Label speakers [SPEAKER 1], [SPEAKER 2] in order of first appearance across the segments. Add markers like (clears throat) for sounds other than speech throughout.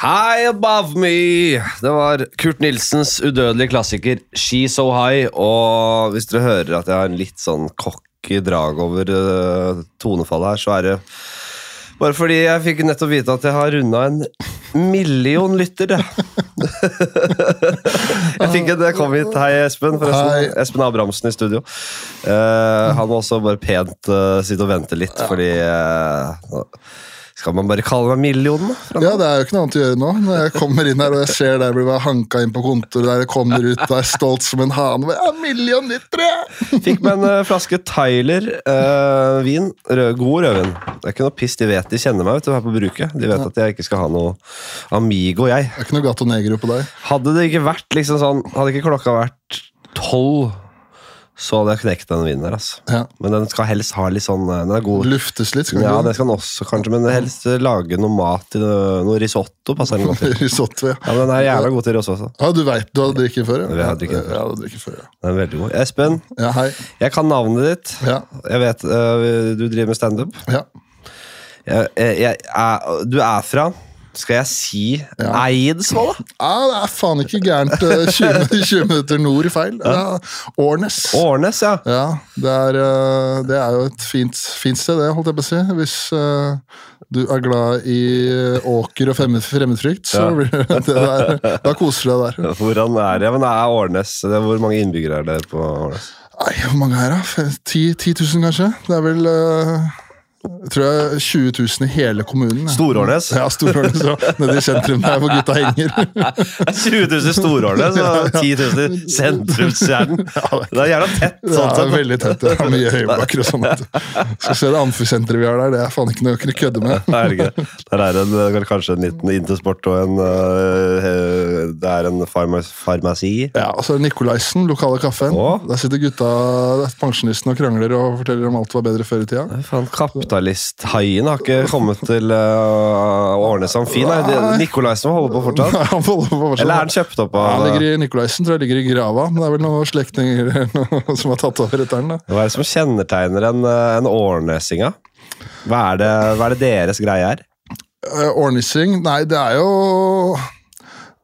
[SPEAKER 1] High Above Me! Det var Kurt Nilsens udødelige klassiker She So High. Og hvis dere hører at jeg har en litt sånn cocky drag over eh, tonefallet her, så er det bare fordi jeg fikk nettopp vite at jeg har runda en million lyttere. (laughs) jeg fikk en, jeg kom hit. Hei, Espen. forresten.
[SPEAKER 2] Hei.
[SPEAKER 1] Espen Abrahamsen i studio. Eh, han må også bare pent eh, sitte og vente litt, fordi eh, nå- Skal man bare kalle meg millionen, da?
[SPEAKER 2] Ja, det er jo ikke noe annet å gjøre nå. Når jeg kommer inn her og jeg ser deg blir bare hanka inn på kontoret der jeg kommer ut der stolt som en hane. Bare, Ja, million liter, ja!
[SPEAKER 1] Fikk meg en eh, flaske Tyler eh, vin. Rød, god rødvin. Det er ikke noe piss. De vet de kjenner meg vet du, her på bruket. De vet at jeg ikke skal ha noe Amigo, jeg.
[SPEAKER 2] Det er ikke noe Gato Negro på deg.
[SPEAKER 1] Hadde det ikke vært liksom sånn Hadde ikke klokka vært tolv, så hadde jeg knekt den vinen der, altså.
[SPEAKER 2] Ja.
[SPEAKER 1] Men den skal helst ha litt sånn eh, Den er god.
[SPEAKER 2] Luftes litt, skal
[SPEAKER 1] Ja,
[SPEAKER 2] du
[SPEAKER 1] det skal den også, kanskje, men helst eh, lage noe mat til det- noe risotto. passer den godt til.
[SPEAKER 2] (laughs) ikke? Risotto, ja.
[SPEAKER 1] Ja, men Den er jævla god til risotto.
[SPEAKER 2] ja. Du veit du hadde drikket før?
[SPEAKER 1] Jeg
[SPEAKER 2] Ja,
[SPEAKER 1] hadde drikket før.
[SPEAKER 2] Ja, du hadde drikket før, ja.
[SPEAKER 1] Den er veldig god. Espen,
[SPEAKER 2] ja hei.
[SPEAKER 1] jeg kan navnet ditt.
[SPEAKER 2] Ja.
[SPEAKER 1] Jeg vet eh, du driver med standup.
[SPEAKER 2] ja.
[SPEAKER 1] jeg, jeg, jeg, er- Du er fra Skal jeg si Eidsvoll da?
[SPEAKER 2] Ja, Ah, det er faen ikke gærent eh, 20, (laughs) 20 minutter nord feil. Ja. Årnes.
[SPEAKER 1] Årnes, ja
[SPEAKER 2] Ja, det er, eh, det er jo et fint, fint sted, det, holdt jeg på å si. Hvis eh, du er glad i eh, åker og fremmed, fremmedfrykt, så blir det (laughs) det der. Da koser du deg der.
[SPEAKER 1] Hvordan er det? Ja, men det er Årnes det er, Hvor mange innbyggere er det på Årnes?
[SPEAKER 2] Nei, hvor mange er det? Fe- 10 10 000, kanskje? Det er vel eh, jeg tror jeg er 20 000 i hele kommunen. ja.
[SPEAKER 1] Storårnes?
[SPEAKER 2] Ja, Storhårnes. Nede i sentrum der hvor gutta henger.
[SPEAKER 1] 20 000
[SPEAKER 2] (laughs)
[SPEAKER 1] Storårnes og 10 000 sentrumskjernen Det er gjerne tett (laughs)
[SPEAKER 2] Det
[SPEAKER 1] sånn
[SPEAKER 2] er
[SPEAKER 1] sett
[SPEAKER 2] veldig tett. Det er mye høyblokker og sånn.
[SPEAKER 1] (laughs)
[SPEAKER 2] vet du. Skal se det amfisenteret vi har der, det er faen ikke noe å kødde
[SPEAKER 1] Nei,
[SPEAKER 2] med.
[SPEAKER 1] det er det ikke. Der er en, eh, kanskje en liten intersport og en, eh, eh, det er en farmas, farmasi.
[SPEAKER 2] Ja, og så er det Nikolaisen, lokale kaffen.
[SPEAKER 1] Å.
[SPEAKER 2] Der sitter gutta, pensjonistene og krangler og forteller om alt var bedre før i tida.
[SPEAKER 1] Nei, Faen, kapitalisthaien har ikke kommet til eh, Årnes Amfin. nei. Det- Nikolaisen holder på fortsatt.
[SPEAKER 2] Nei, (laughs) han holder på fortsatt.
[SPEAKER 1] Eller er sånn den kjøpt opp
[SPEAKER 2] Ja, han
[SPEAKER 1] av
[SPEAKER 2] ligger i Nikolaisen tror jeg ligger i grava, men det er vel noen slektninger (laughs) eller noe som har tatt over etter den. da.
[SPEAKER 1] Hva er det som kjennetegner en, eh, en årnesinga? Hva er, det, hva er det deres greie er?
[SPEAKER 2] Eh, Årnissing, nei, det er jo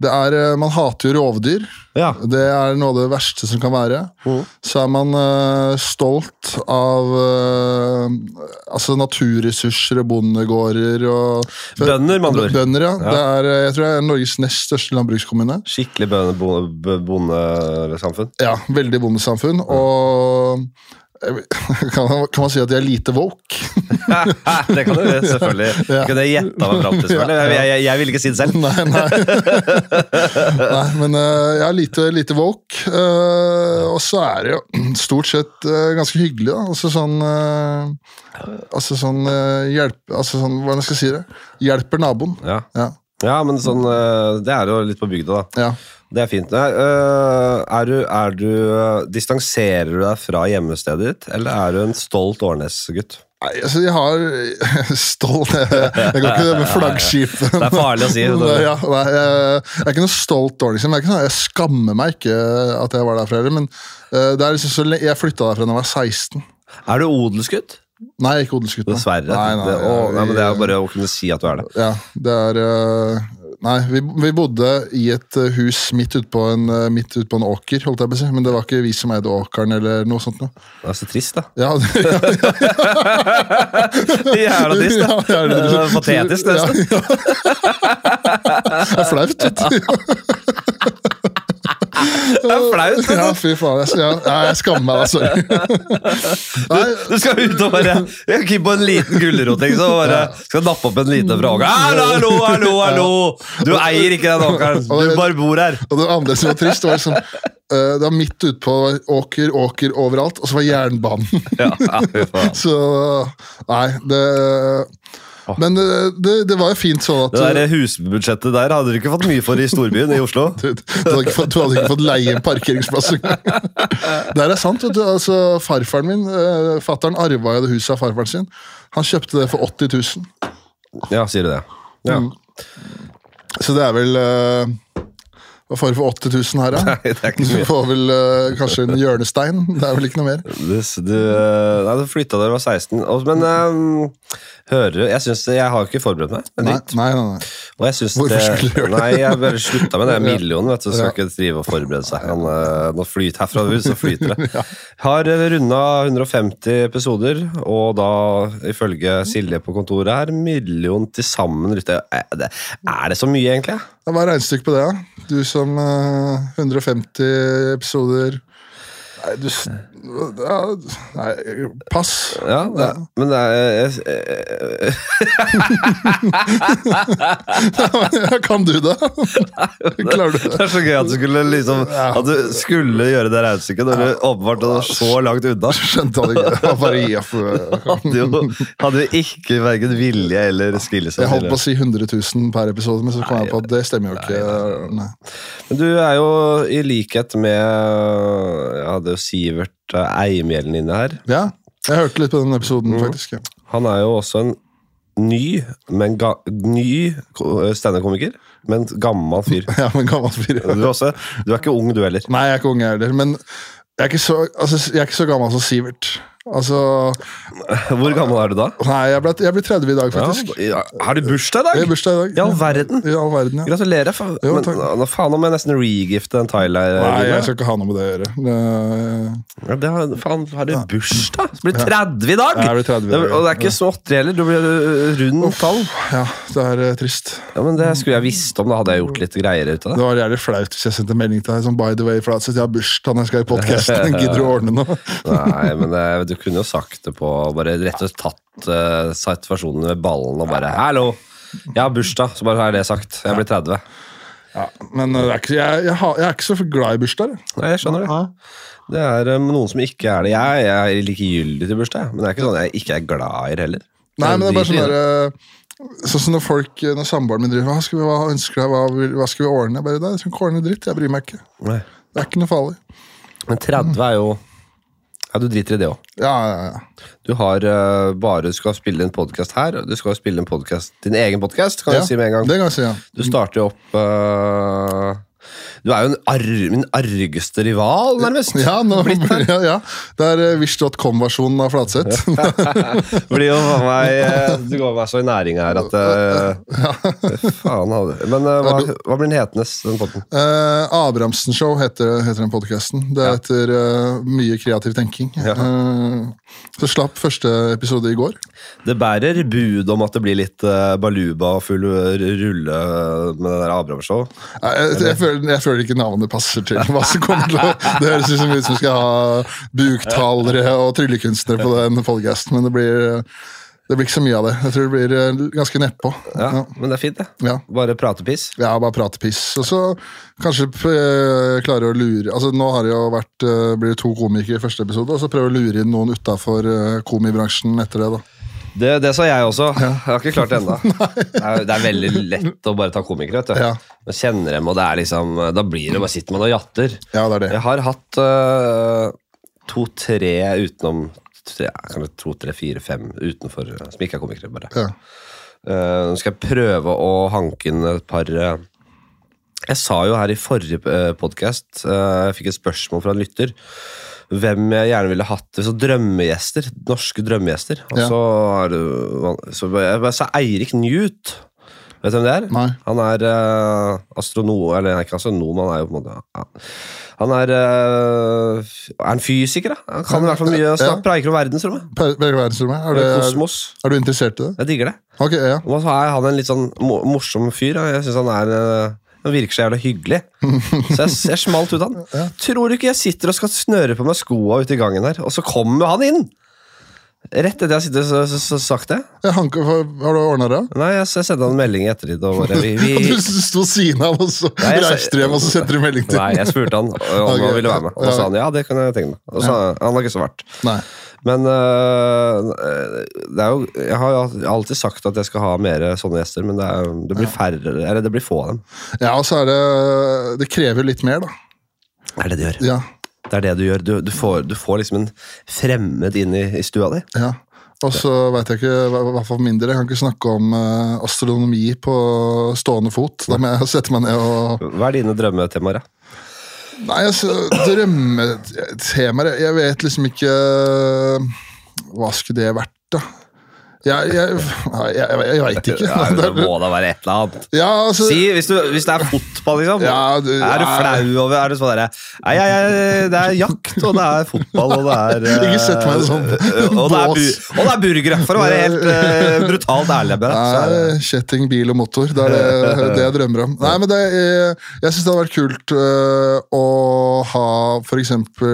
[SPEAKER 2] det er, eh, Man hater jo rovdyr.
[SPEAKER 1] Ja.
[SPEAKER 2] Det er noe av det verste som kan være.
[SPEAKER 1] Mm.
[SPEAKER 2] Så er man eh, stolt av eh, altså naturressurser og bondegårder og
[SPEAKER 1] Bønder, med andre ord.
[SPEAKER 2] Bønder, ja. Det er, eh, jeg tror jeg er Norges nest største landbrukskommune.
[SPEAKER 1] Skikkelig bønde- bo- b- bondesamfunn.
[SPEAKER 2] Ja, veldig bondesamfunn. Og eh, (laughs) kan, man- kan man si at de er lite woke?
[SPEAKER 1] (laughs)
[SPEAKER 2] (laughs)
[SPEAKER 1] det kan du (laughs) selvfølgelig. Det kunne jeg gjetta meg fram til. selvfølgelig. Jeg, jeg, jeg ville ikke si det selv.
[SPEAKER 2] Nei, (laughs) nei. nei men eh, jeg er lite, lite woke. eh, og så er det jo (clears throat) stort sett eh, ganske hyggelig, da. Altså sånn eh, Altså sånn eh, hjelp... Altså sånn, hvordan skal jeg si det? Hjelper naboen.
[SPEAKER 1] Ja.
[SPEAKER 2] Ja.
[SPEAKER 1] ja, men sånn, eh, det er jo litt på bygda, da.
[SPEAKER 2] ja.
[SPEAKER 1] Det er fint. Nei, eh, er du, er du, eh, distanserer du deg fra hjemmestedet ditt, eller er du en stolt Årnes-gutt?
[SPEAKER 2] Nei, altså, jeg har (laughs) stolt Jeg jeg går ikke med (laughs) flaggskipet.
[SPEAKER 1] Det er farlig å si, vet du. (laughs)
[SPEAKER 2] Nei, Mm, ja, nei, jeg, jeg er ikke noe stolt dårlig. liksom. Jeg, er ikke sånn, jeg skammer meg ikke eh, at jeg var derfra heller, men eh, det er liksom så, le- jeg flytta derfra da jeg var 16.
[SPEAKER 1] Er du odelsgutt?
[SPEAKER 2] Nei, jeg er ikke odelsgutt. nei.
[SPEAKER 1] Dessverre.
[SPEAKER 2] Nei, nei,
[SPEAKER 1] det, å, nei, men det er
[SPEAKER 2] vi-
[SPEAKER 1] jo bare å kunne si at du er det.
[SPEAKER 2] Ja, det er øh, Nei, vi, vi bodde i et øh, hus midt ute på en, øh, midt ut på en åker, holdt jeg på å si. Men det var ikke vi som eide åkeren, eller noe sånt noe.
[SPEAKER 1] Det er så trist, (laughs) da.
[SPEAKER 2] Ja, (laughs) ja,
[SPEAKER 1] Jævla trist, da.
[SPEAKER 2] (laughs) ja, ja,
[SPEAKER 1] Det er patetisk, nesten.
[SPEAKER 2] Ja, (laughs) ja. Det er flaut,
[SPEAKER 1] (laughs)
[SPEAKER 2] vet du.
[SPEAKER 1] Det er flaut.
[SPEAKER 2] Ja,
[SPEAKER 1] altså.
[SPEAKER 2] fy faen. Jeg, ja, ja, jeg skammer meg, altså. da. Sorry. Nei,
[SPEAKER 1] Du skal ut og bare Jeg gikk på en liten gulrot, liksom. og Bare, skal nappe opp en liten fra åkeren. Hallo, hallo, hallo! hallo Du eier ikke den åkeren. Du bare bor her.
[SPEAKER 2] Og det andre som var trist, det var liksom øh, Det var midt ute på det var åker, åker overalt, og så var jernbanen.
[SPEAKER 1] Ja, ja, fy faen.
[SPEAKER 2] (laughs) Så Nei, det Men det, det, det var jo fint sånn at
[SPEAKER 1] Det der husbudsjettet der hadde du ikke fått mye for i storbyen i Oslo.
[SPEAKER 2] (laughs) du, du, hadde ikke fått, du hadde ikke fått leie en parkeringsplass engang. (laughs) Det her er sant. vet du. Altså, farfaren min, eh, Fatteren arva jo det huset av farfaren sin. Han kjøpte det for 80 000.
[SPEAKER 1] Ja, sier du det. Ja.
[SPEAKER 2] Så det er vel eh, Hva får du for 80 000 her,
[SPEAKER 1] (laughs)
[SPEAKER 2] da?
[SPEAKER 1] (laughs) Nei, det er ikke
[SPEAKER 2] Du
[SPEAKER 1] så mye.
[SPEAKER 2] får vel eh, kanskje en hjørnestein. Det er vel ikke noe mer.
[SPEAKER 1] Du, du, eh, nei, du flytta da du var ehm, 16. Og- Men eh, hører du Jeg synes, jeg har ikke forberedt meg. Det er
[SPEAKER 2] Nei,
[SPEAKER 1] nytt.
[SPEAKER 2] nei, nei, nei.
[SPEAKER 1] Og jeg synes
[SPEAKER 2] Hvorfor
[SPEAKER 1] det,
[SPEAKER 2] skulle du gjøre det?
[SPEAKER 1] Nei, jeg bare slutta med det.
[SPEAKER 2] Ja.
[SPEAKER 1] Millionen, vet du. Skal
[SPEAKER 2] Ja.
[SPEAKER 1] ikke drive og forberede seg. Han, eh, nå flyter herfra og ut, så flyter
[SPEAKER 2] (laughs)
[SPEAKER 1] det. Har eh, runda 150 episoder, og da ifølge
[SPEAKER 2] Mm.
[SPEAKER 1] Silje på kontoret her, million til sammen. lytter. Er det- er det så mye, egentlig?
[SPEAKER 2] Ja, Hva er regnestykket på det, da? Du som eh, 150 episoder Nei, du s- ja, Nei, pass. (laughs)
[SPEAKER 1] Ja, det, men det er eh, jeg-
[SPEAKER 2] kan du det? Klarer du
[SPEAKER 1] (laughs) Det
[SPEAKER 2] det?
[SPEAKER 1] er så gøy at du skulle liksom At du skulle gjøre det regnestykket når du åpenbart var så langt
[SPEAKER 2] (laughs)
[SPEAKER 1] unna.
[SPEAKER 2] Skjønte han ikke. Det var bare ja, (laughs) for-
[SPEAKER 1] Hadde jo, hadde jo ikke verken vilje eller skills.
[SPEAKER 2] Jeg holdt på å si 100 000 per episode, men så kom jeg på at det stemmer jo ikke. Nei.
[SPEAKER 1] Men du er jo i likhet med Jeg hadde jo Sivert eh, Eimjelen inne her.
[SPEAKER 2] Ja, jeg hørte litt på den episoden, faktisk. Ja. (laughs)
[SPEAKER 1] Han er jo også en ny, men ga, ny ko- standup-komiker, men gammel
[SPEAKER 2] (laughs)
[SPEAKER 1] fyr.
[SPEAKER 2] Ja, men gammel fyr.
[SPEAKER 1] Du, er også, du er ikke ung, du heller.
[SPEAKER 2] Nei, jeg er ikke ung jeg heller, men jeg er ikke så, altså, jeg er ikke så gammel som Sivert. Altså,
[SPEAKER 1] Hvor gammel er du da?
[SPEAKER 2] nei, jeg ble, jeg ble 30 i dag,
[SPEAKER 1] Ja,
[SPEAKER 2] faktisk.
[SPEAKER 1] har du bursdag i
[SPEAKER 2] Det er
[SPEAKER 1] dag?
[SPEAKER 2] bursdag i dag.
[SPEAKER 1] I all verden.
[SPEAKER 2] I all verden, ja.
[SPEAKER 1] Gratulerer. Faen,
[SPEAKER 2] Jo,
[SPEAKER 1] men,
[SPEAKER 2] takk.
[SPEAKER 1] nå faen om jeg nesten regifter den Tyler. eh,
[SPEAKER 2] Nei, jeg skal ikke ha noe med det å gjøre. Det-
[SPEAKER 1] Ja, det har, faen, har du bursdag? Du blir 30 i dag!
[SPEAKER 2] Ja, jeg blir 30 i dag,
[SPEAKER 1] Det- og det er ikke småtteri heller. Du blir øh, rund tall.
[SPEAKER 2] Ja, det er eh, trist.
[SPEAKER 1] Ja, men Det skulle jeg visst om, da hadde jeg gjort litt greier ut av
[SPEAKER 2] Det
[SPEAKER 1] det.
[SPEAKER 2] var jævlig flaut hvis jeg sendte melding til deg som by the way, Flatseth, jeg har bursdag når jeg skal i (laughs) podkasten, gidder du å ordne noe?
[SPEAKER 1] Nei, men eh, du kunne jo sagt det på Bare rett og slett tatt eh, situasjonen med ballen og bare 'Hallo, jeg har bursdag', så bare er det sagt. Jeg blir 30.
[SPEAKER 2] Ja, men eh, det er ikke, jeg, jeg, har, jeg er ikke så glad i bursdager. jeg.
[SPEAKER 1] Nei, jeg skjønner det. Det er eh, noen som ikke er det. Jeg, jeg er likegyldig til bursdag, jeg. men det er ikke sånn jeg ikke er glad i det heller.
[SPEAKER 2] Nei, men det er bare
[SPEAKER 1] Jeg
[SPEAKER 2] sånn
[SPEAKER 1] driter i
[SPEAKER 2] der, eh, Sånn som når folk, eh, når samboeren min driver Hva skal vi, hva ønsker deg, hva, vil- hva skal vi ordne? Jeg bare, nei, jeg skal ikke ordne dritt, jeg bryr meg ikke.
[SPEAKER 1] Nei.
[SPEAKER 2] Det er ikke noe farlig.
[SPEAKER 1] Men 30 er jo Ja, du driter i det òg.
[SPEAKER 2] Ja, ja, ja.
[SPEAKER 1] Du har eh, bare du skal spille en podkast her, og du skal spille en podcast, din egen podkast, kan
[SPEAKER 2] ja
[SPEAKER 1] jeg si med en gang.
[SPEAKER 2] Det kan jeg si,
[SPEAKER 1] (laughs)
[SPEAKER 2] ja.
[SPEAKER 1] Du starter jo opp eh, Du er jo en ar min argeste rival,
[SPEAKER 2] (laughs)
[SPEAKER 1] nærmest.
[SPEAKER 2] Ja, nå, ja, ja. Det er eh, wish.com-versjonen av Flatseth.
[SPEAKER 1] Blir jo faen meg eh, Du går meg så i næringa her at eh, Faen hadde Men eh, hva, hva blir den hetende, den podden?
[SPEAKER 2] Eh, Abrahamsen-show heter, heter den podkasten. Det er etter eh, mye kreativ tenking. Eh, så slapp første episode i går.
[SPEAKER 1] Det bærer bud om at det blir litt eh, baluba og full eh, rulle med det der Abrahamshow.
[SPEAKER 2] Nei, Eh, Jeg, jeg, føler, jeg føler ikke navnet passer til hva som kommer til å Det høres ut som vi som skal ha buktalere og tryllekunstnere på den podkasten, men det blir, det blir ikke så mye av det. Jeg tror det blir eh, ganske nedpå.
[SPEAKER 1] Ja,
[SPEAKER 2] Ja.
[SPEAKER 1] Men det er fint, det.
[SPEAKER 2] Ja.
[SPEAKER 1] Bare pratepiss.
[SPEAKER 2] Ja, bare prate piss. Og så kanskje eh, klare å lure Altså Nå har det jo vært eh, blir det to komikere i første episode, og så prøve å lure inn noen utafor komibransjen etter det. da
[SPEAKER 1] Det, det sa jeg også. Jeg har ikke klart det
[SPEAKER 2] (laughs)
[SPEAKER 1] ennå. Det er- det er veldig lett å bare ta komikere. vet du.
[SPEAKER 2] Ja.
[SPEAKER 1] Man kjenner dem, og det er liksom, da blir det bare sitter man og jatter.
[SPEAKER 2] Ja, det er det.
[SPEAKER 1] Jeg har hatt øh, to-tre utenom tre, kanskje to, tre, fire, fem utenfor øh, som ikke er komikere. bare.
[SPEAKER 2] Ja.
[SPEAKER 1] Eh, Nå skal jeg prøve å hanke inn et par øh, Jeg sa jo her i forrige podkast Jeg fikk et spørsmål fra en lytter. Hvem jeg gjerne ville hatt så Drømmegjester. Norske drømmegjester. Og
[SPEAKER 2] Ja.
[SPEAKER 1] så er det jo- så jeg bare sa Eirik Newt. Vet du hvem det er?
[SPEAKER 2] Nei.
[SPEAKER 1] Han er eh, astronom Eller nei, ikke astronom, han er jo på en måte ja. Han er eh, Er han fysiker, da? Han kan i hvert fall mye. og
[SPEAKER 2] Ja. Eh,
[SPEAKER 1] Snakker preiker om verdensrommet.
[SPEAKER 2] Per- Berger Verdensrommet, er, det-
[SPEAKER 1] Kosmos.
[SPEAKER 2] er du interessert i det?
[SPEAKER 1] Jeg digger det.
[SPEAKER 2] Ok, ja.
[SPEAKER 1] Og så er han en litt sånn mo- morsom fyr. da. Jeg synes han er eh, han virker så jævla hyggelig. Så jeg, jeg smalt ut han. Tror du ikke jeg sitter og skal snøre på meg skoa ute i gangen her, og så kommer han inn? Rett etter jeg har sittet og s- s- s- sagt det.
[SPEAKER 2] ja Hanke, har har du ordna det?
[SPEAKER 1] Nei, jeg, s- jeg sendte han en melding i ettertid. Og bare, (laughs) vi,
[SPEAKER 2] (laughs) Du
[SPEAKER 1] vi...
[SPEAKER 2] sto ved siden av, og så
[SPEAKER 1] Nei, jeg sa-
[SPEAKER 2] reiste du hjem og så sendte du melding til
[SPEAKER 1] Nei, jeg spurte han eh, om
[SPEAKER 2] Ok,
[SPEAKER 1] han ville være med, og
[SPEAKER 2] ja.
[SPEAKER 1] så sa han ja, det kan jeg tenke meg. Og så, han var ikke så verdt.
[SPEAKER 2] Nei.
[SPEAKER 1] Men øh, det er jo, jeg har jo alltid sagt at jeg skal ha mer sånne gjester, men det, er, det blir færre, eller det blir få av dem.
[SPEAKER 2] Ja, og så er det Det krever litt mer, da.
[SPEAKER 1] Det er det de gjør.
[SPEAKER 2] Ja,
[SPEAKER 1] Det er det du gjør. Du, du, får, du får liksom en fremmed inn i, i stua di.
[SPEAKER 2] ja. Og så veit jeg ikke, hva- hva for min del, jeg kan ikke snakke om eh, astronomi på stående fot. Da må jeg sette meg ned og
[SPEAKER 1] Hva er dine drømmetemaer? da?
[SPEAKER 2] Nei, altså, eh, drømmetemaer Jeg vet liksom ikke Hva skulle det vært, da? Jeg, jeg, nei, jeg, jeg, jeg veit ikke.
[SPEAKER 1] (laughs) Ja, men det
[SPEAKER 2] (laughs)
[SPEAKER 1] må da være et eller annet.
[SPEAKER 2] Ja, altså,
[SPEAKER 1] Si, hvis, du, hvis det er fotball, liksom.
[SPEAKER 2] Ja, du-
[SPEAKER 1] er du
[SPEAKER 2] ja.
[SPEAKER 1] flau over Er du sånn derre Nei, jeg, jeg, det er jakt, og det er fotball, og det er eh,
[SPEAKER 2] (laughs) Ikke sett meg som
[SPEAKER 1] Og det er,
[SPEAKER 2] bås.
[SPEAKER 1] bu- og det er burgere, for å være helt eh, brutalt ærlig med deg. så er
[SPEAKER 2] Nei,
[SPEAKER 1] det-
[SPEAKER 2] kjetting, bil og motor. Det er det, det jeg
[SPEAKER 1] (laughs)
[SPEAKER 2] drømmer om. Nei, men det er, Jeg syns det hadde vært kult øh, å ha f.eks. Uh,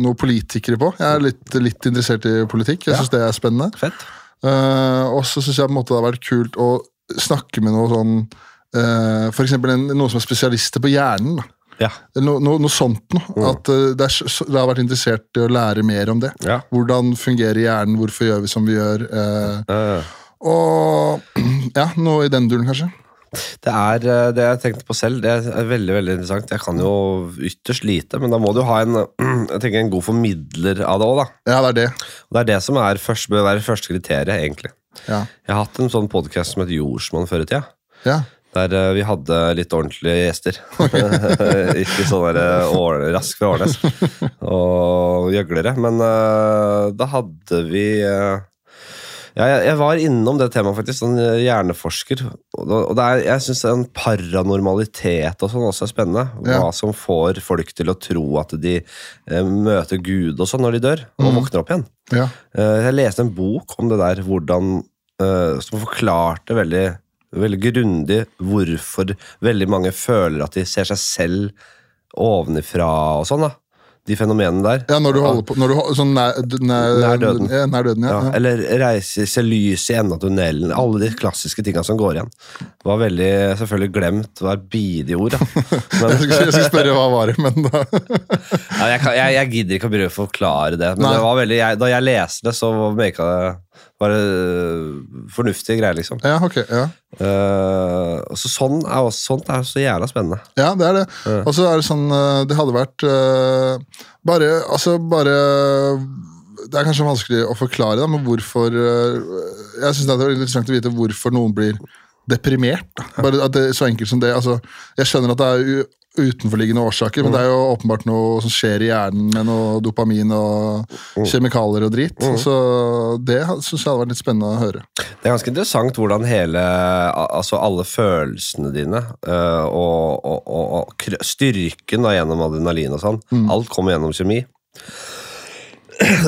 [SPEAKER 2] noen politikere på. Jeg er litt, litt interessert i politikk. Jeg syns det er spennende.
[SPEAKER 1] Fett.
[SPEAKER 2] Eh, og så syns jeg på en måte det hadde vært kult å snakke med noe sånn eh, For F.eks. noen som er spesialister på hjernen. da.
[SPEAKER 1] Ja.
[SPEAKER 2] No, no, noe sånt noe.
[SPEAKER 1] Mm.
[SPEAKER 2] At eh, det, er, s- s- det har vært interessert i å lære mer om det.
[SPEAKER 1] Ja.
[SPEAKER 2] Hvordan fungerer hjernen, hvorfor gjør vi som vi gjør? eh,
[SPEAKER 1] Eh,
[SPEAKER 2] og ja, noe i den duren, kanskje.
[SPEAKER 1] Det er eh, det jeg tenkte på selv. Det er veldig veldig interessant. Jeg kan jo ytterst lite, men da må du ha en, (clears throat) jeg tenker en god formidler av det òg, da.
[SPEAKER 2] Ja, det er det.
[SPEAKER 1] Og det er det som er først, bør være første kriteriet, egentlig.
[SPEAKER 2] Ja.
[SPEAKER 1] Jeg har hatt en sånn podkast som het Jordsmonn før i tida.
[SPEAKER 2] Ja.
[SPEAKER 1] Der eh, vi hadde litt ordentlige gjester. (laughs) Ikke sånn der, eh, år- rask fra Årnes og gjøglere. Men eh, da hadde vi eh, ja, jeg, jeg var innom det temaet, faktisk. Sånn eh, hjerneforsker. Og, da- og det er, jeg syns en paranormalitet og sånn også er spennende.
[SPEAKER 2] Ja.
[SPEAKER 1] Hva som får folk til å tro at de eh, møter Gud og sånn når de dør, og våkner opp igjen.
[SPEAKER 2] ja.
[SPEAKER 1] Eh, Jeg leste en bok om det der, hvordan, eh, som forklarte veldig, veldig grundig hvorfor veldig mange føler at de ser seg selv ovenifra og sånn, da. De fenomenene der.
[SPEAKER 2] ja når du holder på når du, hol- sånn nær, d- nær,
[SPEAKER 1] Nær døden.
[SPEAKER 2] Ja, nær døden, ja.
[SPEAKER 1] Ja,
[SPEAKER 2] ja.
[SPEAKER 1] eller reiser seg lys i enden av tunnelen. Alle de klassiske tinga som går igjen. Var veldig, selvfølgelig glemt hver bidige
[SPEAKER 2] (laughs)
[SPEAKER 1] ord, da. Men,
[SPEAKER 2] (laughs) Jeg skulle jeg skulle spørre hva var det, men da (laughs)
[SPEAKER 1] ja, jeg, kan, jeg, jeg gidder ikke å prøve å forklare det, men
[SPEAKER 2] Nei.
[SPEAKER 1] det var veldig, jeg, da jeg leste det, så merka det var det fornuftige greier, liksom.
[SPEAKER 2] Ja, ok. Ja,
[SPEAKER 1] Eh, så sånn er også, sånt er så jævla spennende.
[SPEAKER 2] ja det er det. Og så er det sånn eh, Det hadde vært eh, bare Altså, bare Det er kanskje vanskelig å forklare, da, men hvorfor eh, Jeg syns det er interessant å vite hvorfor noen blir deprimert. Da. Bare at det er så enkelt som det. Altså, jeg skjønner at det er u utenforliggende årsaker, men det er jo åpenbart noe som skjer i hjernen med noe dopamin og kjemikalier og drit. Så det syns jeg hadde vært litt spennende å høre. (laughs)
[SPEAKER 1] Det er ganske interessant hvordan hele al- Altså alle følelsene dine eh, og, og, og, og kr- styrken da gjennom adrenalin og sånn, alt kommer gjennom kjemi. (clears throat)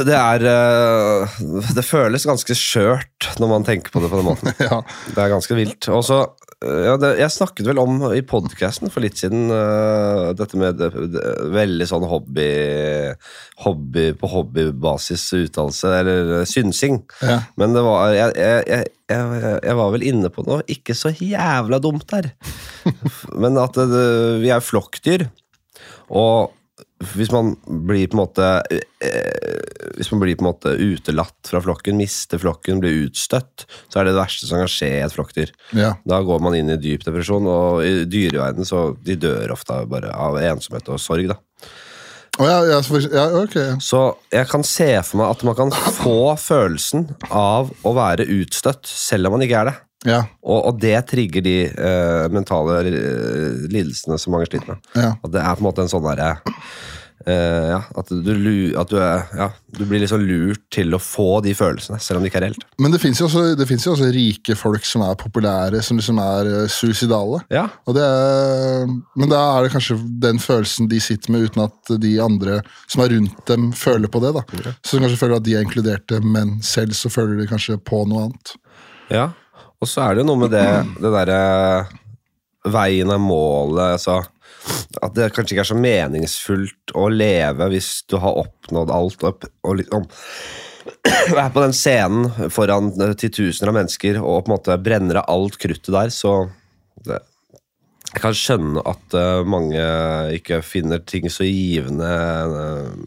[SPEAKER 1] Det er eh, Det føles ganske skjørt når man tenker på det på den måten.
[SPEAKER 2] ja.
[SPEAKER 1] Det er ganske vilt. Og så eh, ja, det, Jeg snakket vel om i podkasten for litt siden eh, dette med det, det, veldig sånn hobby, hobby på hobbybasis uttalelse, eller eh, synsing.
[SPEAKER 2] Ja.
[SPEAKER 1] Men det var, jeg, jeg, jeg, jeg, jeg var vel inne på noe ikke så jævla dumt der. Men at det, det- vi er flokkdyr, og hvis man blir på en måte eh, Hvis man blir på en måte utelatt fra flokken, mister flokken, blir utstøtt, så er det det verste som kan skje i et flokkdyr.
[SPEAKER 2] Ja.
[SPEAKER 1] Da går man inn i dyp depresjon, og i dyreverdenen så de dør ofte av bare av ensomhet og sorg. da.
[SPEAKER 2] Å, ja, ja, så for, ja, ok. ja.
[SPEAKER 1] Så jeg kan se for meg at man kan få følelsen av å være utstøtt, selv om man ikke er det.
[SPEAKER 2] Ja,
[SPEAKER 1] Og, og det trigger de eh, mentale eh, lidelsene som mange sliter med.
[SPEAKER 2] ja.
[SPEAKER 1] At det er på en måte en sånn derre eh, ja, at, du lu- at du, er, ja, du blir liksom lurt til å få de følelsene, selv om det ikke er reelt.
[SPEAKER 2] Men det fins jo, også- det finnes jo også rike folk som er populære, som liksom er eh, suicidale.
[SPEAKER 1] Ja,
[SPEAKER 2] Og det er, men da er det kanskje den følelsen de sitter med, uten at de andre som er rundt dem, føler på det. da. Så de kanskje føler at de er inkluderte, men selv så føler de kanskje på noe annet.
[SPEAKER 1] ja. Og så er det jo noe med det, det derre veien er målet, altså. At det kanskje ikke er så meningsfullt å leve hvis du har oppnådd alt og, og liksom (clears throat) er på den scenen foran eh, titusener av mennesker og på en måte brenner av alt kruttet der, så det, Jeg kan skjønne at eh, mange ikke finner ting så givende eh,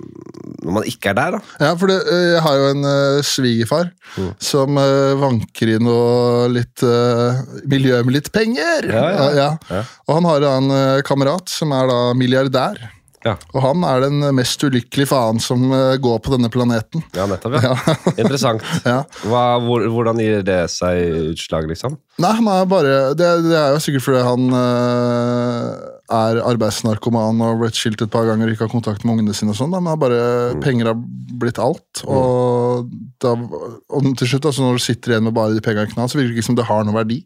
[SPEAKER 1] når man ikke er der, da.
[SPEAKER 2] Ja, for det, eh, jeg har jo en eh, svigerfar
[SPEAKER 1] Mm.
[SPEAKER 2] som eh, vanker i noe litt eh, miljø med litt penger.
[SPEAKER 1] Ja, ja, ja.
[SPEAKER 2] Og han har da en eh, kamerat som er da milliardær.
[SPEAKER 1] Ja,
[SPEAKER 2] Og han er den mest ulykkelige faen som eh, går på denne planeten.
[SPEAKER 1] ja nettopp. (laughs) Ja. Interessant.
[SPEAKER 2] Ja.
[SPEAKER 1] Hva, hvor, hvordan gir det seg utslag, liksom?
[SPEAKER 2] Nei, han er bare Det, det er jo sikkert fordi han eh, er arbeidsnarkoman og blitt skilt et par ganger og ikke har kontakt med ungene sine og sånn, da, men har bare penger har blitt alt. Og, da, og til slutt, altså når du sitter igjen med bare de pengene i knall, så virker det ikke som det har noen verdi.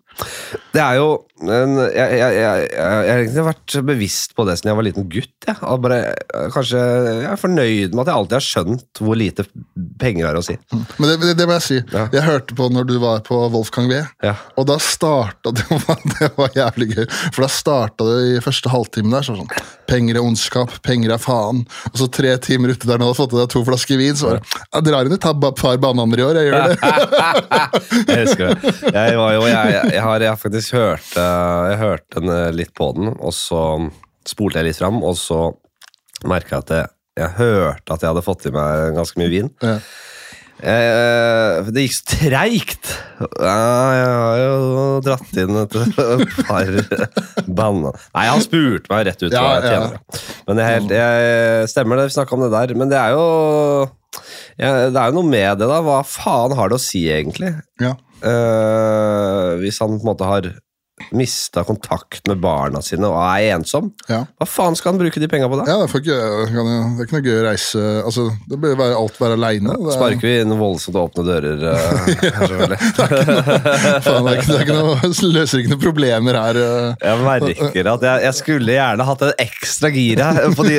[SPEAKER 1] Det er jo en, jeg, jeg, jeg, jeg, jeg har egentlig vært bevisst på det siden jeg var liten gutt. Jeg, Og bare, jeg- kanskje, jeg er fornøyd med at jeg alltid har skjønt hvor lite penger har å si.
[SPEAKER 2] Men det, det, det må jeg si.
[SPEAKER 1] Ja.
[SPEAKER 2] Jeg hørte på når du var på Wolfgang V.
[SPEAKER 1] Ja.
[SPEAKER 2] Og da starta det (laughs) var, Det var jævlig gøy. For da starta det i første halvtimen der så var det sånn Penger er ondskap, penger er faen. Og så tre timer ute der nå hadde fått i deg to flasker vin, så var det Jeg drar inn et tab- par bananer i år, jeg gjør det.
[SPEAKER 1] Jeg husker det. Jeg, var jo, jeg, jeg, jeg har jeg har faktisk hørt eh, Jeg hørte den, eh, litt på den, og så spolte jeg litt fram, og så merka jeg at jeg, jeg hørte at jeg hadde fått i meg ganske mye vin.
[SPEAKER 2] Ja.
[SPEAKER 1] Eh, det gikk så treigt! Ja, jeg har jo dratt inn et par banna... Nei, han spurte meg rett ut hva
[SPEAKER 2] Ja,
[SPEAKER 1] jeg
[SPEAKER 2] ja.
[SPEAKER 1] tjener. Men det er helt, jeg, stemmer det, vi snakka om det der. Men det er jo ja, Det er jo noe med det, da. Hva faen har det å si, egentlig?
[SPEAKER 2] Ja.
[SPEAKER 1] Eh, hvis han på en måte har mista kontakt med barna sine og er ensom,
[SPEAKER 2] Ja.
[SPEAKER 1] hva faen skal han bruke de penga på da?
[SPEAKER 2] ja, det er for gøy- kan jo- det er ikke noe gøy å reise Altså, det bør jo være alt være aleine.
[SPEAKER 1] Sparker vi inn voldsomt åpne dører? eh, selvfølgelig.
[SPEAKER 2] (laughs) Faen, det er ikke, det er ikke noe, (laughs) løser ikke noen problemer her. eh.
[SPEAKER 1] Jeg merker at jeg, jeg skulle gjerne hatt en ekstra gir her. På de,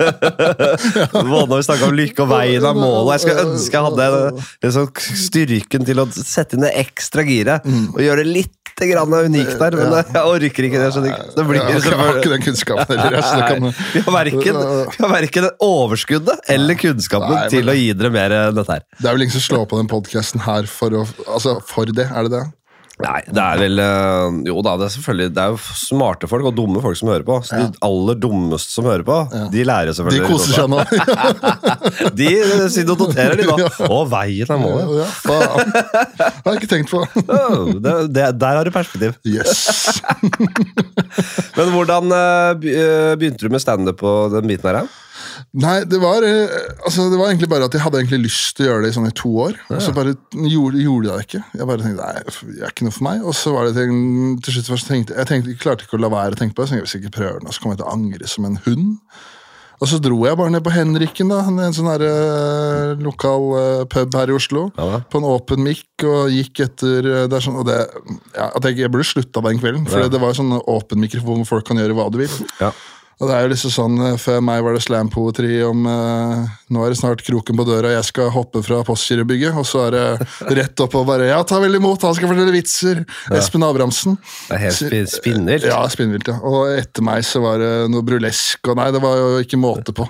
[SPEAKER 1] eh, både når vi snakka om lykke og veien av målet. Jeg skulle ønske jeg hadde liksom, styrken til å sette inn det ekstra giret og gjøre det litt grann unikt der, men jeg orker ikke det. Jeg skjønner ikke. Det
[SPEAKER 2] Jeg
[SPEAKER 1] blir
[SPEAKER 2] har ikke- jeg har ikke den kunnskapen heller. altså, det
[SPEAKER 1] Nei,
[SPEAKER 2] kan-
[SPEAKER 1] Vi har verken, vi har verken overskuddet eller kunnskapen
[SPEAKER 2] Nei, men-
[SPEAKER 1] til å gi dere mer enn dette her.
[SPEAKER 2] Det er vel ingen som slår på den podkasten her for, å, altså, for det, er det det?
[SPEAKER 1] Nei, det er vel eh, Jo da, det er selvfølgelig Det er jo smarte folk og dumme folk som hører på. Så De aller dummeste som hører på, de lærer jo
[SPEAKER 2] De
[SPEAKER 1] selvfølgelig.
[SPEAKER 2] koser seg nå.
[SPEAKER 1] nå. De eh, sitter og noterer, (laughs) de da. Å, veien er målet.
[SPEAKER 2] ja, faen. Det har jeg ikke tenkt på.
[SPEAKER 1] Oh, det, det, der har du perspektiv.
[SPEAKER 2] Yes.
[SPEAKER 1] Men hvordan eh, be- eh, begynte du med standup på den biten her? da?
[SPEAKER 2] Nei, det var, eh, altså, det var egentlig bare at jeg hadde egentlig lyst til å gjøre det i sånn i to år. Og så bare gjorde, gjorde jeg det ikke. Jeg bare tenkte nei, det er ikke noe for meg. Og så var det til, til slutt først tenkte jeg tenkte, jeg klarte ikke å la være å tenke på det. Så tenkte jeg hvis jeg ikke prøver den, så kommer jeg til å angre som en hund. Og så dro jeg bare ned på Henriken, da, en sånn her, eh, lokal eh, pub her i Oslo.
[SPEAKER 1] Ja da.
[SPEAKER 2] på en åpen mic og gikk etter eh, det er sånn, og det, ja, at jeg, jeg burde slutta den kvelden, for
[SPEAKER 1] Ja.
[SPEAKER 2] det var jo sånn åpen mikrofon hvor folk kan gjøre hva du vil.
[SPEAKER 1] Ja.
[SPEAKER 2] Og det er jo liksom sånn, eh, Før meg var det slampoetri om eh, nå er det snart kroken på døra, jeg skal hoppe fra Postgirobygget. Og så er det rett opp og bare ja, ta vel imot, han skal fortelle vitser! Espen Abrahamsen.
[SPEAKER 1] Det er helt spin- spinnvilt.
[SPEAKER 2] Ja, spinnvilt, ja. Og etter meg så var det noe brulesk, og nei, det var jo ikke måte på.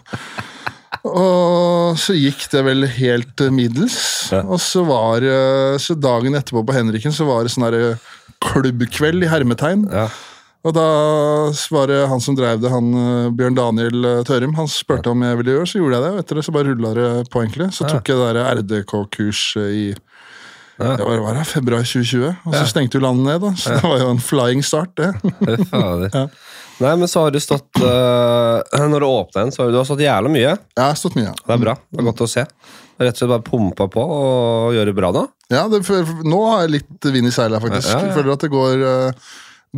[SPEAKER 2] Og så gikk det vel helt eh, middels. Og så var eh, Så dagen etterpå på Henriken så var det sånn der eh, klubbkveld i hermetegn.
[SPEAKER 1] Ja.
[SPEAKER 2] Og da var det han som drev det, han eh, Bjørn Daniel eh, Tørum, han spurte om jeg ville gjøre, så gjorde jeg det. Og etter det så bare rulla det på, egentlig. Så tok jeg det der RDK-kurset eh, i
[SPEAKER 1] Ja.
[SPEAKER 2] det var, var det, februar 2020. Og så stengte jo landet ned, da. Så det var jo en flying start,
[SPEAKER 1] (laughs)
[SPEAKER 2] det.
[SPEAKER 1] Fy fader.
[SPEAKER 2] Ja.
[SPEAKER 1] Nei, men så har du stått eh, Når det åpna igjen, så har du, du har stått jævla mye.
[SPEAKER 2] Jeg har stått mye, ja.
[SPEAKER 1] Det er bra. Det er godt å se. Rett og slett bare pumpa på og gjøre det bra nå.
[SPEAKER 2] Ja, det, for, nå har jeg litt vind i seilet,
[SPEAKER 1] Ja,
[SPEAKER 2] faktisk.
[SPEAKER 1] ja, ja.
[SPEAKER 2] Jeg føler at det går, eh,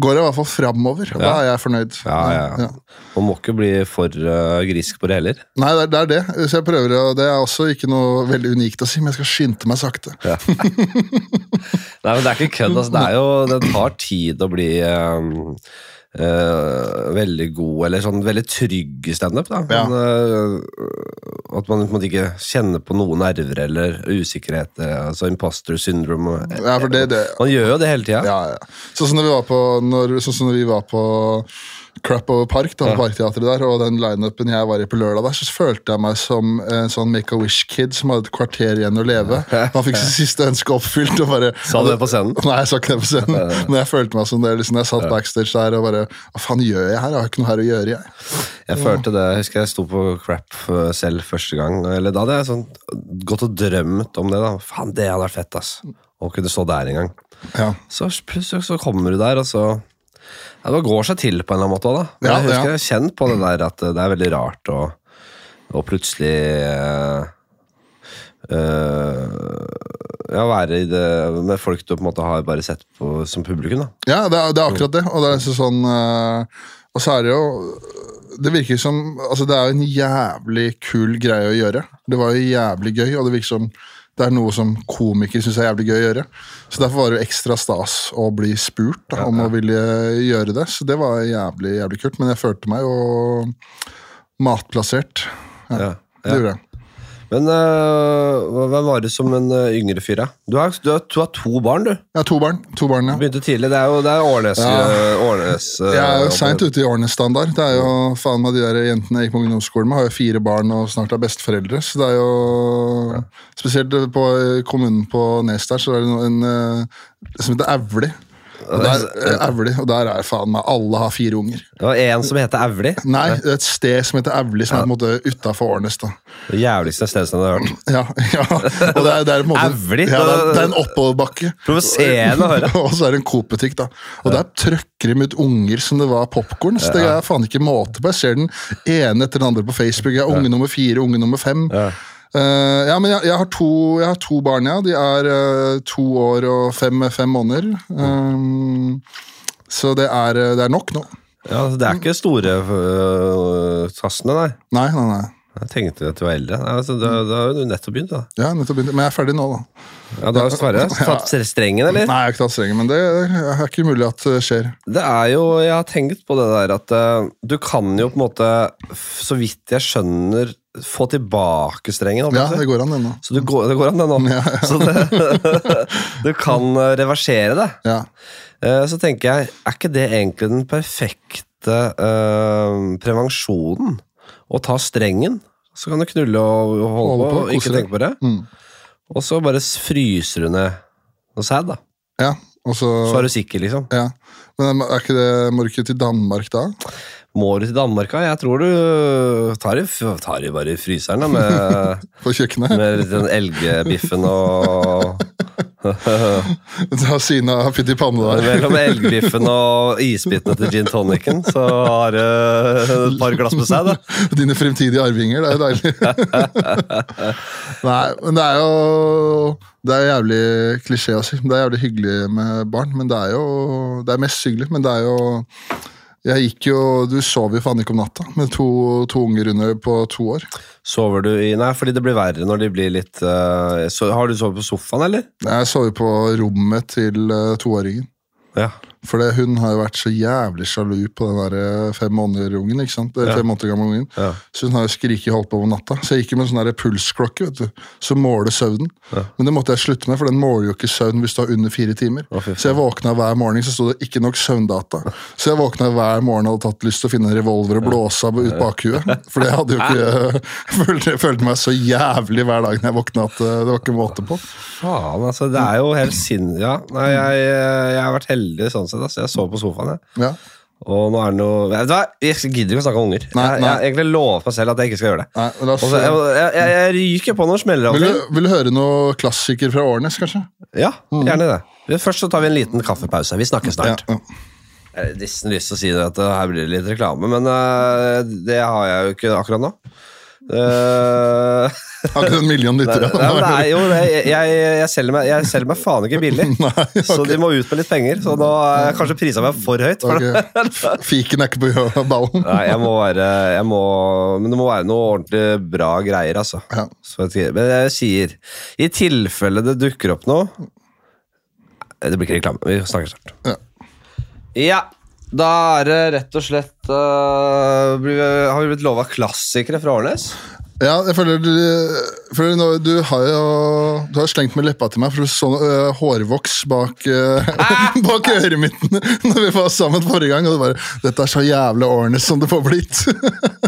[SPEAKER 2] går i hvert fall framover. Da er jeg fornøyd.
[SPEAKER 1] Ja, ja, ja.
[SPEAKER 2] Ja.
[SPEAKER 1] Man må ikke bli for eh, grisk på det heller.
[SPEAKER 2] Nei, det er, det er det. Så jeg prøver, å- det er også ikke noe veldig unikt å si, men jeg skal skynde meg sakte.
[SPEAKER 1] Nei, men Det er ikke kødd. altså. Det, er jo, det tar tid å bli eh, eh, veldig god, eller sånn veldig trygg i standup. da.
[SPEAKER 2] Ja.
[SPEAKER 1] Men, eh, at man på en måte ikke kjenner på noen nerver eller usikkerhet. eh, altså Imposter syndrome. og-
[SPEAKER 2] (laughs) Ja, for det, det,
[SPEAKER 1] Man gjør jo det hele tida.
[SPEAKER 2] ja, ja. Sånn som når vi var på, når, sånn som når vi var på Crap Over Park, da, Parkteatret der, og den lineupen jeg var i på lørdag der, så følte jeg meg som en sånn Make-A-Wish-kid som hadde et kvarter igjen å leve. (laughs) Han fikk sitt siste ønske oppfylt og bare
[SPEAKER 1] Sa du det på scenen?
[SPEAKER 2] Nei, jeg sa ikke det på scenen, men jeg følte meg som det. liksom Jeg satt backstage der og bare Hva faen gjør jeg her? Jeg har ikke noe her å gjøre, jeg.
[SPEAKER 1] Jeg følte det, jeg husker jeg sto på crap eh, selv første gang. Eller da hadde jeg sånn, gått og drømt om det. da. Faen, det hadde vært fett, ass. Å kunne stå der en gang.
[SPEAKER 2] Ja.
[SPEAKER 1] Så plutselig så kommer du der, og så ja, Det går seg til på en eller annen måte òg, da. Men
[SPEAKER 2] Ja,
[SPEAKER 1] jeg husker
[SPEAKER 2] ja.
[SPEAKER 1] jeg kjent på det der at eh, det er veldig rart å og plutselig eh, eh, ja, være i det med folk du på en måte har bare sett på som publikum, da.
[SPEAKER 2] Ja, det er, det er akkurat det. Og det er liksom sånn eh, Og så er det jo Det virker som Altså, det er jo en jævlig kul greie å gjøre. Det var jo jævlig gøy, og det virker som det er noe som komikere syns er jævlig gøy å gjøre. Så derfor var det jo ekstra stas å bli spurt da, om å ville gjøre det. Så det var jævlig, jævlig kult. Men jeg følte meg jo matplassert. Ja,
[SPEAKER 1] Ja, ja.
[SPEAKER 2] Det gjorde jeg.
[SPEAKER 1] Men øh, hva- hvem var det som en øh, yngre fyr, da? Du har, du, har, du har to barn, du.
[SPEAKER 2] Jeg har to barn. To barn, ja.
[SPEAKER 1] Du begynte tidlig. Det er jo det er Årnes.
[SPEAKER 2] Ja.
[SPEAKER 1] øh, Årnes øh,
[SPEAKER 2] Jeg er jo seint ute i årenes standard. Det er jo faen meg de der jentene jeg gikk på ungdomsskolen med, har jo fire barn og snart er besteforeldre. Så det er jo Spesielt på eh, kommunen på Nes der, så er det no- en eh, som heter Auli. Og der, eh, Auli, og der er faen meg alle har fire unger.
[SPEAKER 1] Det var en som heter Auli.
[SPEAKER 2] Nei, det er et sted som heter Auli, som er på en måte utafor Årnes. da. (laughs)
[SPEAKER 1] Det jævligste stedet jeg har hørt.
[SPEAKER 2] Ja, ja. Og det er, det er på en måte
[SPEAKER 1] Auli?
[SPEAKER 2] ja, det, er, det er en oppoverbakke.
[SPEAKER 1] Provoserende å høre.
[SPEAKER 2] (laughs) og så er det en Coop-butikk, da. Og der trøkker de ut unger som det var popkorn. Så det er faen ikke måte på. Jeg ser den ene etter den andre på Facebook. Jeg er unge nummer fire, unge nummer fem.
[SPEAKER 1] Ja.
[SPEAKER 2] Eh, ja, men jeg, jeg, har to, jeg har to barn, ja. De er eh, to år og fem, fem måneder. Um, så det er, eh, det er nok nå.
[SPEAKER 1] Ja, altså, det er ikke store øh, tassene, nei.
[SPEAKER 2] Nei, nei, nei.
[SPEAKER 1] Jeg tenkte at du var eldre. Nei, Altså, da, da har du nettopp begynt, da.
[SPEAKER 2] Ja, nettopp begynt. Men jeg er ferdig nå, da.
[SPEAKER 1] Ja, da har Sverre tatt strengen, eller?
[SPEAKER 2] Nei, jeg har ikke tatt strengen, men det er ikke umulig at det skjer.
[SPEAKER 1] Det er jo, jeg har tenkt på det der at eh, du kan jo på en måte, f- så vidt jeg skjønner, få tilbake strengen. holdt jeg
[SPEAKER 2] Ja,
[SPEAKER 1] på å si.
[SPEAKER 2] det går an ennå.
[SPEAKER 1] Så du går, det går an det nå. (laughs) Så det, (laughs) du kan eh, reversere det.
[SPEAKER 2] Ja.
[SPEAKER 1] Eh, Så tenker jeg, er ikke det egentlig den perfekte eh, prevensjonen? Å ta strengen, så kan du knulle og og holde,
[SPEAKER 2] Holde
[SPEAKER 1] på,
[SPEAKER 2] på,
[SPEAKER 1] og ikke
[SPEAKER 2] kose deg.
[SPEAKER 1] tenke på det.
[SPEAKER 2] Mm.
[SPEAKER 1] Og så bare s- fryser du ned noe sæd, da.
[SPEAKER 2] ja. Og så
[SPEAKER 1] Så er du sikker, liksom.
[SPEAKER 2] ja. Men er ikke det må du ikke til Danmark da?
[SPEAKER 1] Må du til Danmark, da? Jeg tror du tar det, f- tar det bare i fryseren, da, med, (laughs)
[SPEAKER 2] På kjøkkenet?
[SPEAKER 1] med litt den elgbiffen og
[SPEAKER 2] (laughs) Ta Sina pytt i panne der.
[SPEAKER 1] Mellom elgbiffen og isbitene til gin tonicen, så har du et par glass med seg, da.
[SPEAKER 2] (laughs) Dine fremtidige arvinger, det er jo deilig. Nei, men det er jo Det er jævlig klisjé å si. Det er jævlig hyggelig med barn, men det er jo Det er mest hyggelig, men det er jo jeg gikk jo, Du sov jo faen ikke om natta med to, to unger under på to år.
[SPEAKER 1] Sover du i Nei, fordi det blir verre når de blir litt eh, så, Har du sovet på sofaen, eller?
[SPEAKER 2] Jeg sov jo på rommet til eh, toåringen.
[SPEAKER 1] Ja.
[SPEAKER 2] For det, hun har jo vært så jævlig sjalu på den der eh, fem måneder ungen, ikke sant? Eller
[SPEAKER 1] Ja.
[SPEAKER 2] fem måneder gamle ungen.
[SPEAKER 1] Ja.
[SPEAKER 2] Så hun har jo skriket holdt på om natta. Så jeg gikk jo med en sånn der pulsklokke, vet du. Så måler søvnen. Men det måtte jeg slutte med, for den måler jo ikke søvn hvis du har under fire timer.
[SPEAKER 1] Å, fy faen.
[SPEAKER 2] så jeg våkna hver morgen, så sto det ikke nok søvndata. Så jeg våkna hver morgen og hadde tatt lyst til å finne en revolver og blåse av ut bakhuet. For det hadde jo ikke (laughs) Jeg følte, jeg følte meg så jævlig hver dag når jeg våkna at eh, det var ikke måte på.
[SPEAKER 1] Faen, altså. Det er jo helt sinn... Ja. Nei, jeg, eh, jeg har vært heldig sånn sett. Altså. Jeg sov på sofaen, jeg.
[SPEAKER 2] Ja.
[SPEAKER 1] Og nå er det noe Vet du hva, jeg gidder ikke å snakke om unger.
[SPEAKER 2] Nei,
[SPEAKER 1] Jeg, jeg har egentlig lovet meg selv at jeg ikke skal gjøre det.
[SPEAKER 2] Nei, men la oss,
[SPEAKER 1] Og så- jeg, jeg, jeg, jeg ryker på noen smeller av og
[SPEAKER 2] vil, du,
[SPEAKER 1] til.
[SPEAKER 2] vil du høre noe klassiker fra Årnes, kanskje?
[SPEAKER 1] Ja, gjerne det. Men Først så tar vi en liten kaffepause. Vi snakkes snart.
[SPEAKER 2] Mm. Ja, ja.
[SPEAKER 1] Jeg har nesten lyst til å si det at det her blir det litt reklame, men eh, det har jeg jo ikke akkurat nå. Eh,
[SPEAKER 2] Har ikke en million lyttere.
[SPEAKER 1] Nei, men det er jo det. Jeg, jeg, jeg, selger meg, jeg selger meg faen ikke billig. Så de må ut med litt penger. Så nå har jeg kanskje prisa meg for høyt. For det. (laughs)
[SPEAKER 2] Ok. F- Fiken er ikke på ballen.
[SPEAKER 1] Nei, jeg må være jeg må, Men det må være noe ordentlig bra greier, altså.
[SPEAKER 2] Ja.
[SPEAKER 1] Så jeg, sier- men jeg sier, i tilfelle det dukker opp noe Nei, Det blir ikke reklame. Vi snakker snart.
[SPEAKER 2] Ja.
[SPEAKER 1] Ja, da er det rett og slett øh, blir vi, Har vi blitt lova klassikere fra Årnes?
[SPEAKER 2] ja, jeg føler du, føler nå, du har jo du har slengt med leppa til meg for du så øh, hårvoks bak, øh, (laughs) bak øret mitt (laughs) når vi var sammen forrige gang. Og du bare 'Dette er så jævla årene som det får blitt'.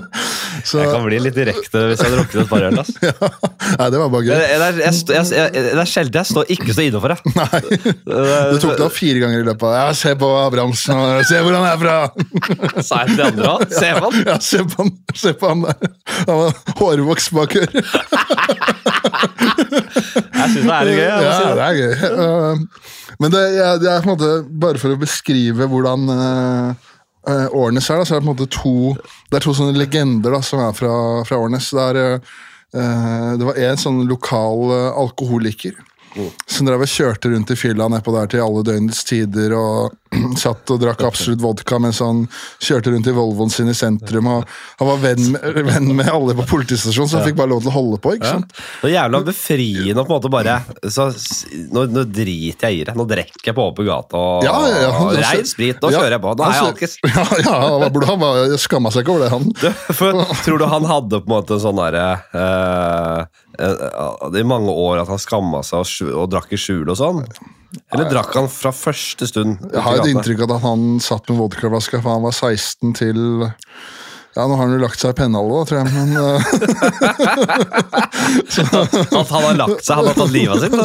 [SPEAKER 2] (laughs) så
[SPEAKER 1] Jeg kan bli litt direkte hvis jeg hadde drukket et par øl. ass.
[SPEAKER 2] ja. Nei, det var
[SPEAKER 1] (laughs)
[SPEAKER 2] bare
[SPEAKER 1] Det,
[SPEAKER 2] gøy.
[SPEAKER 1] det, er, jeg, st- jeg, jeg, det er sjelden jeg står ikke står inne for det. (laughs)
[SPEAKER 2] Nei. Du tok det opp fire ganger i løpet av Ja, se på Abrahamsen, og se hvor han er fra! (laughs)
[SPEAKER 1] Sa jeg til de andre òg? Se på han!
[SPEAKER 2] Ja, se på han, se på han der. Han har hårvoks bak øret.
[SPEAKER 1] Jeg syns det er litt gøy. Jeg, må si
[SPEAKER 2] Ja,
[SPEAKER 1] det.
[SPEAKER 2] det er gøy. (laughs) Uh, Men det, ja, det er på en måte bare for å beskrive hvordan uh, uh, Årnes er, da, så er det på en måte to Det er to sånne legender da, som er fra, eh, fra Årnes. Det, er, uh, uh, det var en sånn lokal uh, eh, alkoholiker Som drev og kjørte rundt i fylla nedpå der til alle døgnets tider og (clears throat) satt og drakk absolutt vodka mens han kjørte rundt i Volvoen sin i sentrum. og Han var venn med, (laughs) venn med alle på politistasjonen, så han fikk bare lov til å holde på. ikke sant?
[SPEAKER 1] Det er jævla befriende å på en måte bare så, s- nå, nå driter jeg i det. Nå drikker jeg på åpen gate og,
[SPEAKER 2] Ja, ja, ja.
[SPEAKER 1] og rein sprit. Nå
[SPEAKER 2] Ja, Altså-
[SPEAKER 1] kjører jeg på. Nå er jeg
[SPEAKER 2] han
[SPEAKER 1] alkis. (laughs)
[SPEAKER 2] kjø- (laughs) Ja, ja, han var- han var- skamma seg ikke over det, han.
[SPEAKER 1] For, tror du han hadde på en måte en sånn derre eh, eh, I mange år at han skamma seg og, skju- og drakk i skjul og sånn? Eller drakk han fra første stund? ute i
[SPEAKER 2] Jeg har et
[SPEAKER 1] gata?
[SPEAKER 2] inntrykk av at han satt med vodkaflaska fra han var 16 til Ja, nå har han jo lagt seg i pennhallet, da, tror jeg, men eh,
[SPEAKER 1] (laughs) At han har lagt seg? Han har tatt livet av sitt? (laughs)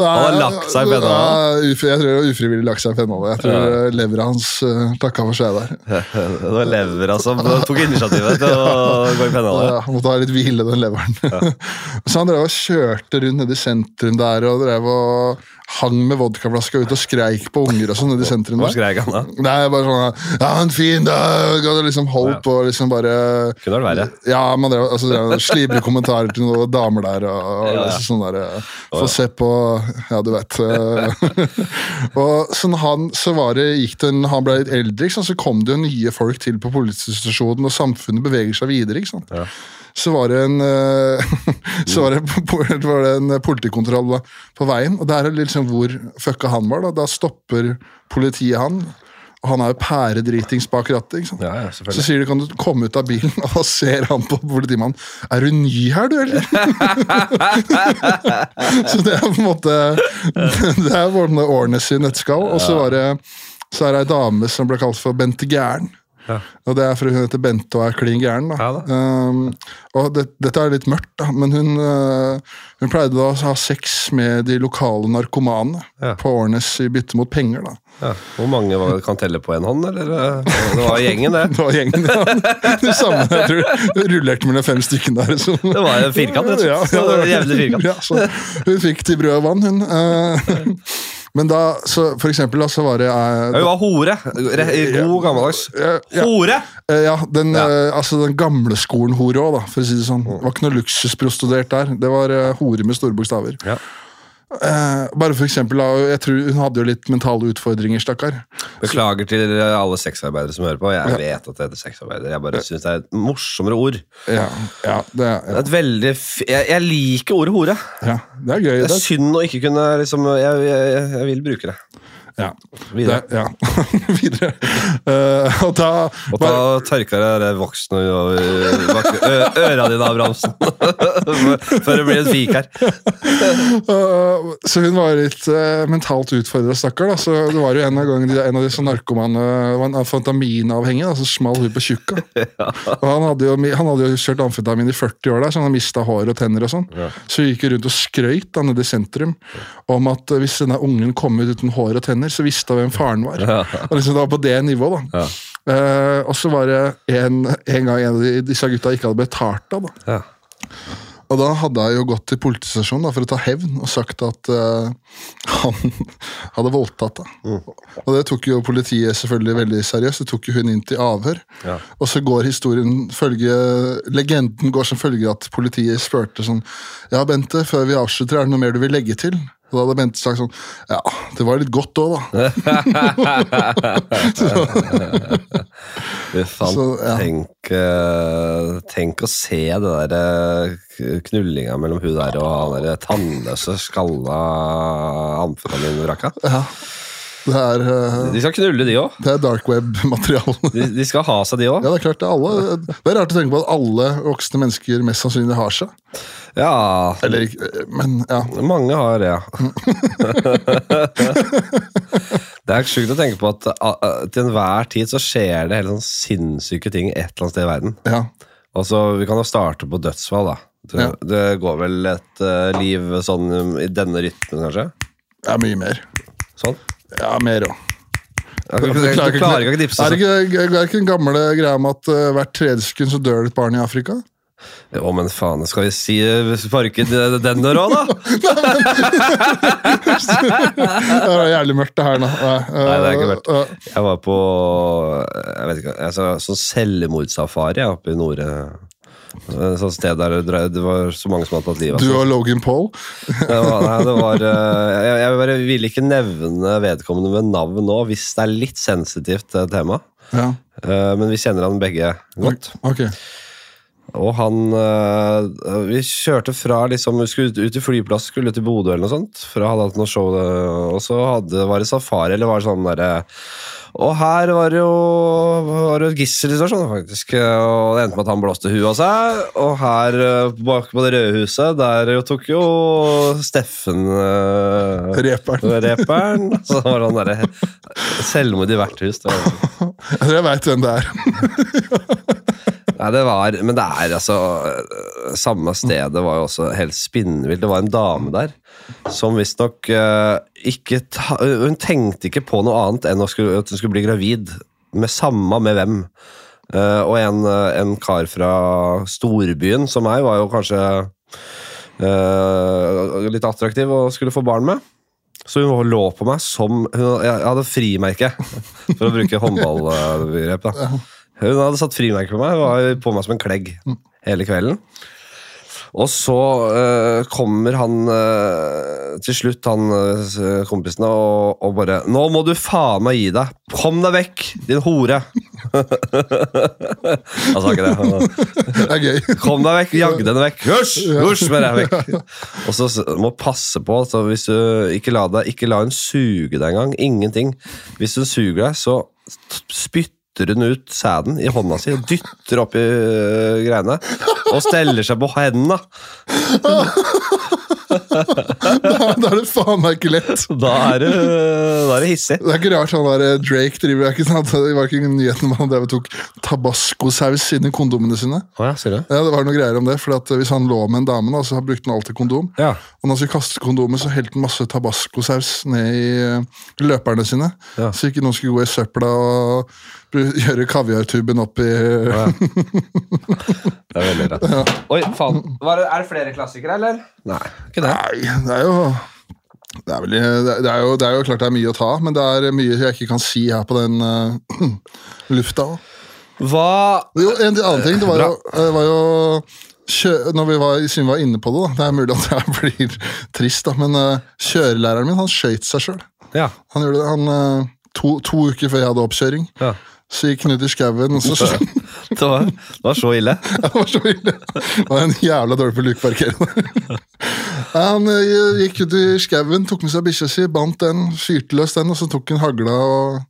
[SPEAKER 1] Han har lagt seg i pennene?
[SPEAKER 2] Ja, ufri- Jeg tror det var ufrivillig lagt seg i pennhallet. Jeg tror ja. levra hans uh, takka for seg der.
[SPEAKER 1] (laughs) Det var levra som tok initiativet til å gå i pennene?
[SPEAKER 2] Ja, han måtte ha litt hvile, den leveren. (laughs) så han drev og kjørte rundt nede i sentrum der og drev og hang med vodkaflaska ut og skreik på unger og sånn nede i sentrum
[SPEAKER 1] Hvor
[SPEAKER 2] der.
[SPEAKER 1] skrek han da?
[SPEAKER 2] Nei, bare sånn Ja, en fin dag! Og det liksom holdt på, liksom bare
[SPEAKER 1] Kunne vært verre.
[SPEAKER 2] Ja, man drev, altså, drev og slibre kommentarer til noen damer der. Og, og
[SPEAKER 1] Ja, ja.
[SPEAKER 2] liksom sånn der eh, Få se på Ja, du vet. eh. (laughs) og sånn han, så var det, gikk det en, han ble litt eldre, ikke sant? så kom det jo nye folk til på politistasjonen, og samfunnet beveger seg videre. ikke sant? Så var det en eh, (laughs) så var det,
[SPEAKER 1] Mm.
[SPEAKER 2] (laughs) po- po- var det en politikontroll på veien, og der er det liksom hvor fucka han var. Da Da stopper politiet han, og han er jo pæredritings bak rattet. ikke sant?
[SPEAKER 1] Ja, ja,
[SPEAKER 2] Så
[SPEAKER 1] selvfølgelig.
[SPEAKER 2] sier de kan du komme ut av bilen, (laughs) og da ser han på politimannen. Er du ny her, du, eller? (laughs) så det er på en måte (laughs) Det er hvordan årene sine nøtteskall. Og så var det så er det ei dame som ble kalt for Bente Gæren.
[SPEAKER 1] Ja.
[SPEAKER 2] Og det er fordi hun heter Bente og er klin gæren. da.
[SPEAKER 1] Ja da.
[SPEAKER 2] Um, og det, dette er litt mørkt, da, men hun, øh, hun pleide da å ha sex med de lokale narkomane
[SPEAKER 1] Ja.
[SPEAKER 2] på Årnes i bytte mot penger. da.
[SPEAKER 1] Ja. Hvor mange var- kan telle på en hånd, eller? Det var gjengen, det.
[SPEAKER 2] (laughs) Det var gjengen, ja. Det samme, jeg tror. Det rullerte mellom fem stykken der. Så.
[SPEAKER 1] Det var en firkant, rett og slett. Det var en jævlig firkant.
[SPEAKER 2] Ja, så hun fikk til brød og vann, hun. Eh, Men da, så for eksempel, da, så var det eh,
[SPEAKER 1] Hun var hore. Re- God gammeldags.
[SPEAKER 2] Ja, ja.
[SPEAKER 1] Hore!
[SPEAKER 2] eh, ja, den,
[SPEAKER 1] Ja.
[SPEAKER 2] eh, altså den gamle skolen hore òg, da, for å si det sånn. Det var ikke noe luksusprostituert der. Det var eh, hore med store bokstaver.
[SPEAKER 1] Ja.
[SPEAKER 2] Eh, bare for eksempel, da, jeg tror hun hadde jo litt mentale utfordringer, stakkar.
[SPEAKER 1] Beklager til alle sexarbeidere som hører på. Jeg vet at det heter sexarbeider. Jeg bare syns det er et morsommere ord.
[SPEAKER 2] Ja, ja, det, er-
[SPEAKER 1] Et veldig f jeg, jeg liker ordet hore.
[SPEAKER 2] ja, det er gøy.
[SPEAKER 1] Det
[SPEAKER 2] Det,
[SPEAKER 1] er synd å ikke kunne liksom Jeg, jeg, jeg vil bruke det.
[SPEAKER 2] ja.
[SPEAKER 1] Videre.
[SPEAKER 2] Det, ja. (laughs) Videre. Eh, og da
[SPEAKER 1] Og da tørker jeg det voksen over bak- ø- øra dine, Abrahamsen. (laughs) Før det blir en fik her.
[SPEAKER 2] Øh, Så hun var litt eh, mentalt utfordra, stakkar. da. Så det var jo en av gangene de- en av disse narkomane det var en amfetaminavhengig da, som small hun på
[SPEAKER 1] (laughs)
[SPEAKER 2] tjukka. Og han hadde, jo, mi- han hadde jo kjørt amfetamin i 40 år, der, så han mista hår og tenner. og sånn. Så hun gikk jo rundt og skrøyt da, nede i sentrum om at eh, hvis denne ungen kom ut uten hår og tenner, så visste hun hvem faren var. (laughs) Og liksom det var på det nivået, da. Eh, og så var det en, en gang en av de, disse gutta ikke hadde betalt av. da.
[SPEAKER 1] Ja.
[SPEAKER 2] Og da hadde jeg jo gått til politistasjonen da, for å ta hevn og sagt at eh, (laughs) han hadde voldtatt. Da. Og det tok jo politiet selvfølgelig veldig seriøst. Det tok jo hun inn til avhør.
[SPEAKER 1] Ja.
[SPEAKER 2] Og så går historien følge, Legenden går som følger at politiet spurte sånn Ja, Bente, før vi avslutter, er det noe mer du vil legge til? Og da hadde Bente sagt sånn Ja, det var litt godt òg, da.
[SPEAKER 1] (laughs) Fy faen.
[SPEAKER 2] Så, ja.
[SPEAKER 1] tenk, eh, tenk å se det der eh, knullinga mellom hun der og han der tannløse, skalla amfetaminvraka.
[SPEAKER 2] Det er, eh,
[SPEAKER 1] De skal knulle, de òg.
[SPEAKER 2] det er dark web-materiale.
[SPEAKER 1] De, de skal ha seg, de òg.
[SPEAKER 2] (laughs) Ja, Det er klart, det, er alle, det er rart å tenke på at alle voksne mennesker mest sannsynlig har seg.
[SPEAKER 1] Ja.
[SPEAKER 2] Eller ikke, men ja.
[SPEAKER 1] Mange har
[SPEAKER 2] (laughs)
[SPEAKER 1] det, ja. det er sjukt å tenke på at ah, ah, til enhver tid så skjer det helt sånn sinnssyke ting et eller annet sted i verden.
[SPEAKER 2] Ja,
[SPEAKER 1] Altså, Vi kan jo starte på dødsfall, da. Det,
[SPEAKER 2] Ja.
[SPEAKER 1] det går vel et eh, liv sånn um, i denne rytmen, kanskje?
[SPEAKER 2] det er mye mer.
[SPEAKER 1] Sånn?
[SPEAKER 2] Ja, mer òg.
[SPEAKER 1] Ja, Du, du, klarer ikke å knipse
[SPEAKER 2] Er det
[SPEAKER 1] sånn.
[SPEAKER 2] ikke, er det ikke den gamle greia med at eh, hvert tredje sekund så dør det et barn i
[SPEAKER 1] (laughs)
[SPEAKER 2] Afrika?
[SPEAKER 1] Å, men faen, skal vi si eh, sparke d- den der òg,
[SPEAKER 2] (laughs)
[SPEAKER 1] da?
[SPEAKER 2] Det er jævlig mørkt, det her nå. Nei,
[SPEAKER 1] Nei, det er ikke mørkt.
[SPEAKER 2] eh, eh,
[SPEAKER 1] Jeg var på jeg vet ikke, altså, sånn selvmordssafari ja, oppe i nord... eh, Eh, Sånn sted der det dre- det var så mange som hadde tatt livet av
[SPEAKER 2] Du
[SPEAKER 1] seg.
[SPEAKER 2] og Logan Paul.
[SPEAKER 1] Det var, nei, det var, eh, jeg, jeg bare ville ikke nevne vedkommende ved navn nå, hvis det er litt sensitivt eh, tema.
[SPEAKER 2] Ja.
[SPEAKER 1] Eh, Men vi kjenner han begge godt.
[SPEAKER 2] Ok.
[SPEAKER 1] Og han eh, Vi kjørte fra liksom, Vi skulle ut- ut til flyplass, skulle til Bodø eller noe sånt. For jeg hadde hatt noe show, eh, og så hadde, var det safari, eller var det sånn derre Og her var det jo var det jo gisselsituasjon, faktisk. eh, Og det endte med at han blåste huet av seg. Og her eh, bak på det røde huset, der jo tok jo Steffen eh,
[SPEAKER 2] Reperen.
[SPEAKER 1] Reperen. Så var det han derre Selvmord i hvert hus. Det var
[SPEAKER 2] Jeg tror (laughs) jeg veit hvem det er. (laughs)
[SPEAKER 1] Nei, det var, men det er altså øh, Samme stedet var jo også helt spinnvilt. Det var en dame der som visstnok øh, ikke ta, øh, Hun tenkte ikke på noe annet enn å skulle, at hun skulle bli gravid. Med samme med hvem. Eh, og en, øh, en kar fra storbyen som meg var jo kanskje øh, litt attraktiv og skulle få barn med. Så hun lå på meg som hun, Jeg jeg hadde frimerke, for å bruke håndballbegrep. da. Hun hadde satt frimerke på meg. Hun var på meg som en klegg hele kvelden. Og så eh, kommer han eh, til slutt, han eh, kompisen, og, og bare 'Nå må du faen meg gi deg! Kom deg vekk, din hore!' (laughs) Han sa ikke det. Han,
[SPEAKER 2] Det er gøy. (laughs)
[SPEAKER 1] Kom deg vekk! Jagde henne vekk! Hysj! Hysj! Men jeg er vekk. Og så s- må passe på. Så hvis du ikke la deg, ikke la hun suge deg engang. Ingenting. Hvis hun suger deg, så t- spytter hun ut sæden i hånda si og dytter opp i øh, greiene. Og steller seg på hendene.
[SPEAKER 2] Da er det faen meg ikke lett.
[SPEAKER 1] Da er det, da er det hissig.
[SPEAKER 2] Det er ikke rart han der eh, Drake driver det er ikke sant? (laughs) Det var ikke nyheten om han drev og tok tabascosaus inni kondomene sine.
[SPEAKER 1] Å ja, sier du?
[SPEAKER 2] Ja, det var noen greier om det, for at eh, Hvis han lå med en dame, da, så brukte han alltid kondom.
[SPEAKER 1] Ja.
[SPEAKER 2] Og når han skulle kaste kondomet, så helte han masse tabascosaus ned i eh, løperne sine.
[SPEAKER 1] Ja.
[SPEAKER 2] Så ikke noen skulle gå i søpla og bru- (laughs) gjøre kaviartuben opp i
[SPEAKER 1] Det er veldig rart. Oi, faen. Var det, er det flere klassikere, eller? Nei. Ikke det.
[SPEAKER 2] Nei, det er jo det er, vel, det, er jo, det er jo klart det er mye å ta, men det er mye jeg ikke kan si her på den eh, (clears throat) lufta.
[SPEAKER 1] Hva
[SPEAKER 2] Jo, en annen ting, det var jo, det var jo kjø, når vi var, Siden vi var inne på det, da. Det er mulig at jeg blir trist, da, men eh, kjørelæreren min han skøyt seg sjøl.
[SPEAKER 1] Ja.
[SPEAKER 2] Han gjorde det han, eh, to, to uker før jeg hadde oppkjøring.
[SPEAKER 1] ja.
[SPEAKER 2] Så gikk han ut i skauen, og så (laughs) Det
[SPEAKER 1] Det, var, det var så ille.
[SPEAKER 2] var så ille! Det var en jævla dårlig på lukeparkering. (laughs) Han eh, gikk ut i skauen, tok med seg bikkja si, bandt den, fyrte løs den, og så tok han hagla og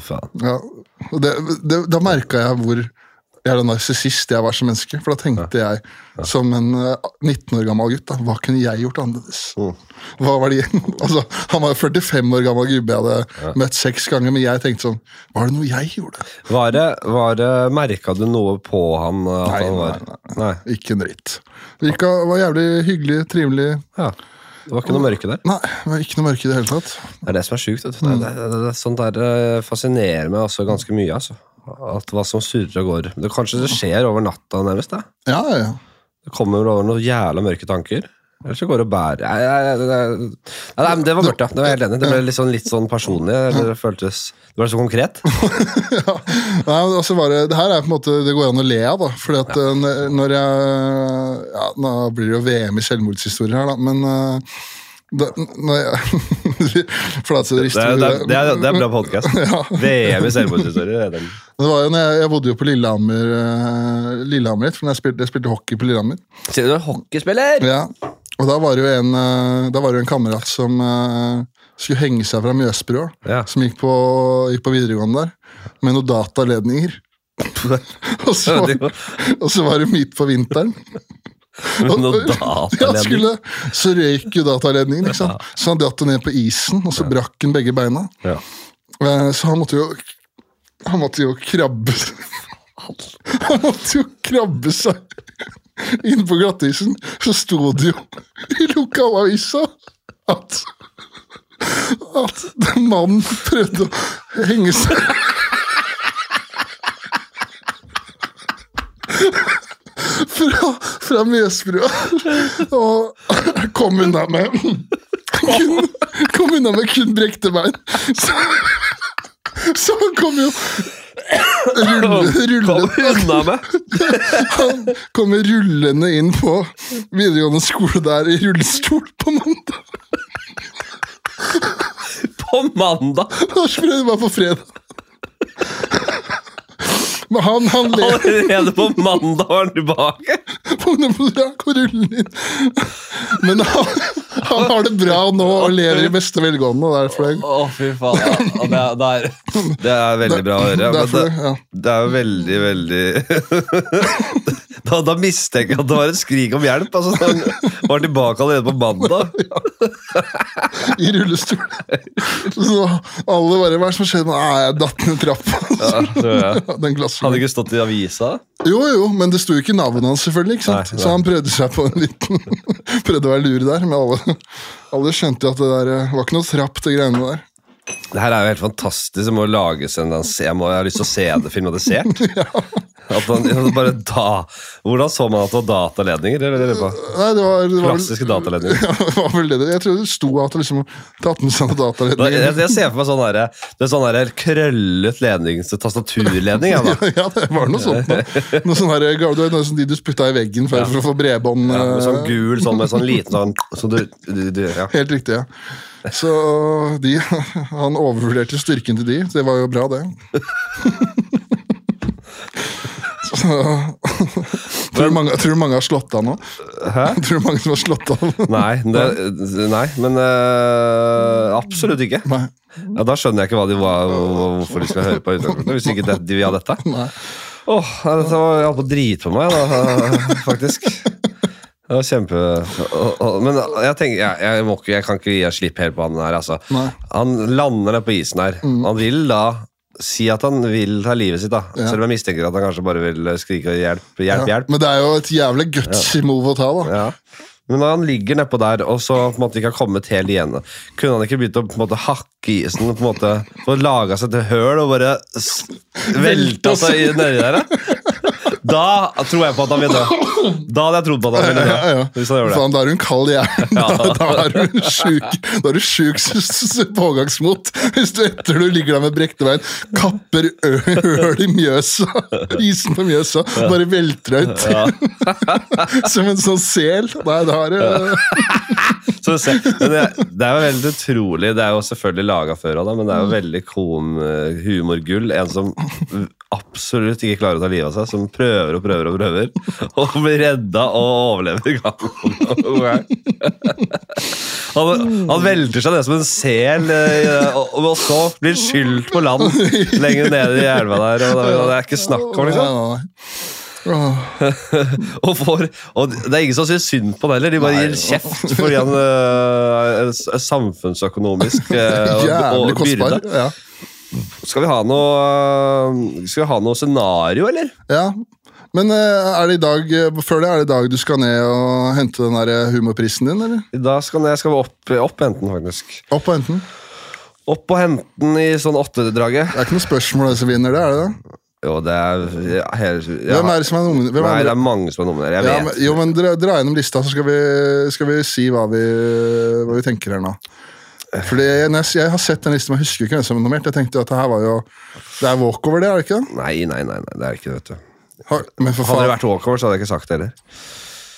[SPEAKER 1] Fy faen.
[SPEAKER 2] Ja, og det, det, Da merka jeg hvor jævla narsissist jeg var som menneske. For da tenkte jeg som en eh, 19 år gammel gutt, da, hva kunne jeg gjort annerledes? Hva var det, (laughs) altså, Han var jo 45 år gammel gubbe jeg hadde møtt seks ganger, men jeg tenkte sånn Var det noe jeg gjorde?
[SPEAKER 1] Var det, var det Merka du noe på han? eh, At
[SPEAKER 2] Nei,
[SPEAKER 1] han var?
[SPEAKER 2] nei,
[SPEAKER 1] nei.
[SPEAKER 2] Ikke en dritt. Virka var jævlig hyggelig, trivelig.
[SPEAKER 1] Ja. Det var ikke noe mørke der.
[SPEAKER 2] Nei, det var ikke noe mørke i det hele tatt.
[SPEAKER 1] Det er det som er sjukt. vet du. Det, det, det, det, sånt der eh, fascinerer meg også ganske mye. altså. At Hva som surrer og går. Det, kanskje det skjer over natta, nærmest. Det.
[SPEAKER 2] Ja, ja, ja.
[SPEAKER 1] det kommer over noen jævla mørke tanker. Eller så går det og bærer Nei, nei, nei, nei, nei, nei, men Det var mørkt, ja. Det var jeg helt enig. i. Det ble litt sånn, litt sånn personlig. eller Det føltes Det ble så konkret.
[SPEAKER 2] (laughs) Nei, men altså bare, det her er på en måte Det går an å le av, da. Fordi at eh, n- når jeg ja, Nå blir det jo VM i selvmordshistorier her, da, men eh, da, n- når jeg (laughs) Flatseth
[SPEAKER 1] Det er,
[SPEAKER 2] rister
[SPEAKER 1] det er, det er, det er bra
[SPEAKER 2] Men
[SPEAKER 1] (laughs) podkast. VM i selvmordshistorier. det er den.
[SPEAKER 2] det var jo når jeg, jeg bodde jo på Lillehammer, eh, Lillehammer litt, for når jeg spilte, jeg spilte hockey på Lillehammer.
[SPEAKER 1] Sier du er hockeyspiller?
[SPEAKER 2] Ja, og da var det jo en, eh, da var det jo en kamerat som eh, skulle henge seg fra Mjøsbrua,
[SPEAKER 1] Ja.
[SPEAKER 2] som gikk på, gikk på videregående der, med noen
[SPEAKER 1] (laughs)
[SPEAKER 2] dataledninger. og, så,
[SPEAKER 1] Det var-
[SPEAKER 2] og så var det midt på vinteren.
[SPEAKER 1] Noe (laughs)
[SPEAKER 2] Ja, han
[SPEAKER 1] dataledning.
[SPEAKER 2] skulle, så røyk jo dataledningen, ikke sant? så han datt jo ned på isen, og så brakk han begge beina.
[SPEAKER 1] Ja.
[SPEAKER 2] Eh, Så han måtte jo Han måtte jo krabbe Han måtte jo krabbe seg inn på glattisen. Så sto det jo i lokalavisa at at den mannen prøvde å henge seg Fra, fra Mjøsbrua. Og kom unna med kun, Kom unna med kun brekte bein. Så, så han kom jo rulle,
[SPEAKER 1] Kom
[SPEAKER 2] rulle,
[SPEAKER 1] unna meg!
[SPEAKER 2] (laughs) han kommer rullende inn på videregående skole der i rullestol på mandag. (laughs)
[SPEAKER 1] På mandag!
[SPEAKER 2] Han sprøyte bare på fredag. Men han, han ler
[SPEAKER 1] Allerede på mandag var han tilbake!
[SPEAKER 2] (laughs) på ungdomsdrakt og ruller inn. Men han, han har det bra nå og lever i beste velgående. og Derfor det,
[SPEAKER 1] Å, fy faen. Ja, det, er- det, er, det er veldig bra å høre. Men
[SPEAKER 2] derfor,
[SPEAKER 1] det,
[SPEAKER 2] det, ja.
[SPEAKER 1] det er jo veldig, veldig (laughs) da, da mistenker jeg at det var et skrik om hjelp. Altså, han var tilbake allerede på mandag.
[SPEAKER 2] I rullestol. Så alle bare Hva er det som skjer nå? Nei, jeg datt ned trappa.
[SPEAKER 1] (laughs) Ja, tror jeg.
[SPEAKER 2] (laughs) Den
[SPEAKER 1] Hadde
[SPEAKER 2] glassrullen.
[SPEAKER 1] ikke stått i avisa.
[SPEAKER 2] Jo, jo, men det sto jo ikke navnet hans, selvfølgelig. ikke sant?
[SPEAKER 1] Nei, nei.
[SPEAKER 2] Så han prøvde seg på en liten (laughs) Prøvde å være lur der, men alle, alle skjønte jo at det der eh, var ikke noe trapp til greiene der.
[SPEAKER 1] Det her er jo helt fantastisk. Det må lages en dans- Jeg, må, jeg har lyst til å se det filmatisert.
[SPEAKER 2] (laughs)
[SPEAKER 1] At man, at man bare da, hvordan så man at det var dataledninger? Eller, eller, hva?
[SPEAKER 2] Nei, det var, det var vel-
[SPEAKER 1] Klassiske dataledninger.
[SPEAKER 2] (laughs) Ja, det var vel det. det- Jeg tror det sto at det liksom tatt med seg noen
[SPEAKER 1] Da, jeg,
[SPEAKER 2] dataledninger.
[SPEAKER 1] jeg ser for meg sånn derre- det er sånn derre krøllet ledning, så tastaturledning. Ja,
[SPEAKER 2] (laughs)
[SPEAKER 1] da.
[SPEAKER 2] (laughs) Ja, det var noe sånt. Noe, noe sånn her, du vet, noe sånn de du spytta i veggen for, for å få bredbånd.
[SPEAKER 1] Ja, med sånn
[SPEAKER 2] eh,
[SPEAKER 1] gul, sånn med sånn liten sånn så du, du, du, ja.
[SPEAKER 2] Helt riktig, ja. Så de, han overvurderte styrken til de. så Det var jo bra, det. Så, tror, du mange, tror du mange har slått av nå?
[SPEAKER 1] Hæ?
[SPEAKER 2] Tror du mange som har slått av?
[SPEAKER 1] Nei, det, nei men øh, absolutt ikke.
[SPEAKER 2] Nei.
[SPEAKER 1] Ja, da skjønner jeg ikke hva de, hva, hvorfor de skal høre på utgangspunktet. Hvis ikke det, de vil ha dette.
[SPEAKER 2] (laughs) Nei.
[SPEAKER 1] Åh, nei, dette var, jeg holdt på å drite på meg, da, (laughs) faktisk. Det var kjempe... å- å- Men jeg tenker, jeg, jeg, må ikke, jeg kan ikke gi slipp helt på han her, altså.
[SPEAKER 2] Nei. Mm.
[SPEAKER 1] Han lander ned på isen her. Han vil da si at han vil ta livet sitt, da.
[SPEAKER 2] Ja.
[SPEAKER 1] Selv om jeg mistenker at han kanskje bare vil skrike hjelp, hjelp,
[SPEAKER 2] Ja,
[SPEAKER 1] hjelp.
[SPEAKER 2] men det er jo et jævlig gutsy move å ta, da.
[SPEAKER 1] Ja. Men når han ligger nedpå der, og så på en måte ikke har kommet helt igjennom, kunne han ikke begynt å på en måte hakke i isen og på en måte få laga seg et høl og bare s- velta seg i- nedi der? da? Da tror jeg på at han vil dø. Da hadde jeg trodd på at han ville
[SPEAKER 2] Ja, ja.
[SPEAKER 1] dø. Hvis han gjorde det.
[SPEAKER 2] Faen, da er hun kald i
[SPEAKER 1] (laughs)
[SPEAKER 2] hjernen. Da, da er hun sjuk. Da er du sjuk s- s- s- pågangsmot. Hvis du etter du ligger der med brektebein, kapper ø- høl i Mjøsa, (laughs) isen på Mjøsa, bare velter deg ut (laughs) som en sånn sel. Nei, da er det
[SPEAKER 1] Så se, men det, det er jo veldig utrolig. Det er jo selvfølgelig laga før òg, men det er jo veldig kom humorgull. En som absolutt ikke klarer å ta livet av seg, som prøver og prøver (laughs) og prøver, og blir redda og overlever gang (laughs) på gang. Han, han velter seg ned som en sel, eh, og, og så blir skylt på land lenger nede i elva der. Og det, det er ikke snakk om, liksom.
[SPEAKER 2] Nei, nei, nei. Åh,
[SPEAKER 1] Og, får, og det er ingen som syns synd på han heller. De bare gir kjeft fordi han øh, er s- er samfunnsøkonomisk
[SPEAKER 2] (laughs)
[SPEAKER 1] øh, og,
[SPEAKER 2] Jævlig
[SPEAKER 1] og byrde.
[SPEAKER 2] kostbar. Ja.
[SPEAKER 1] Skal vi ha noe øh, Skal vi ha noe scenario, eller?
[SPEAKER 2] ja. Men eh, er det i dag, eh, før det, er det i dag du skal ned og hente den der eh, humorprisen din, eller?
[SPEAKER 1] Da skal jeg skal vi opp, opp og hente den, faktisk.
[SPEAKER 2] Opp og hente den.
[SPEAKER 1] Opp og hente den i sånn åttedraget.
[SPEAKER 2] Det er ikke noe spørsmål hvem som vinner det, er det det?
[SPEAKER 1] Jo, det er ja, helt, ja.
[SPEAKER 2] Hvem er det som er nominert? Hvem
[SPEAKER 1] Nei,
[SPEAKER 2] er
[SPEAKER 1] det
[SPEAKER 2] det?
[SPEAKER 1] er mange som er nominert. Jeg
[SPEAKER 2] Ja,
[SPEAKER 1] vet
[SPEAKER 2] men, jo, men dra, dra gjennom lista, så skal vi, skal vi si hva vi, hva vi tenker her nå. Fordi når jeg, jeg har sett den listen, men jeg husker ikke hvem som er nominert. Jeg tenkte at det her var jo Det er walkover, det, er det ikke det?
[SPEAKER 1] Nei, nei, nei, nei, det er ikke det, vet du.
[SPEAKER 2] Har, men for
[SPEAKER 1] Hadde det
[SPEAKER 2] faen.
[SPEAKER 1] vært walkover, så hadde jeg ikke sagt det heller.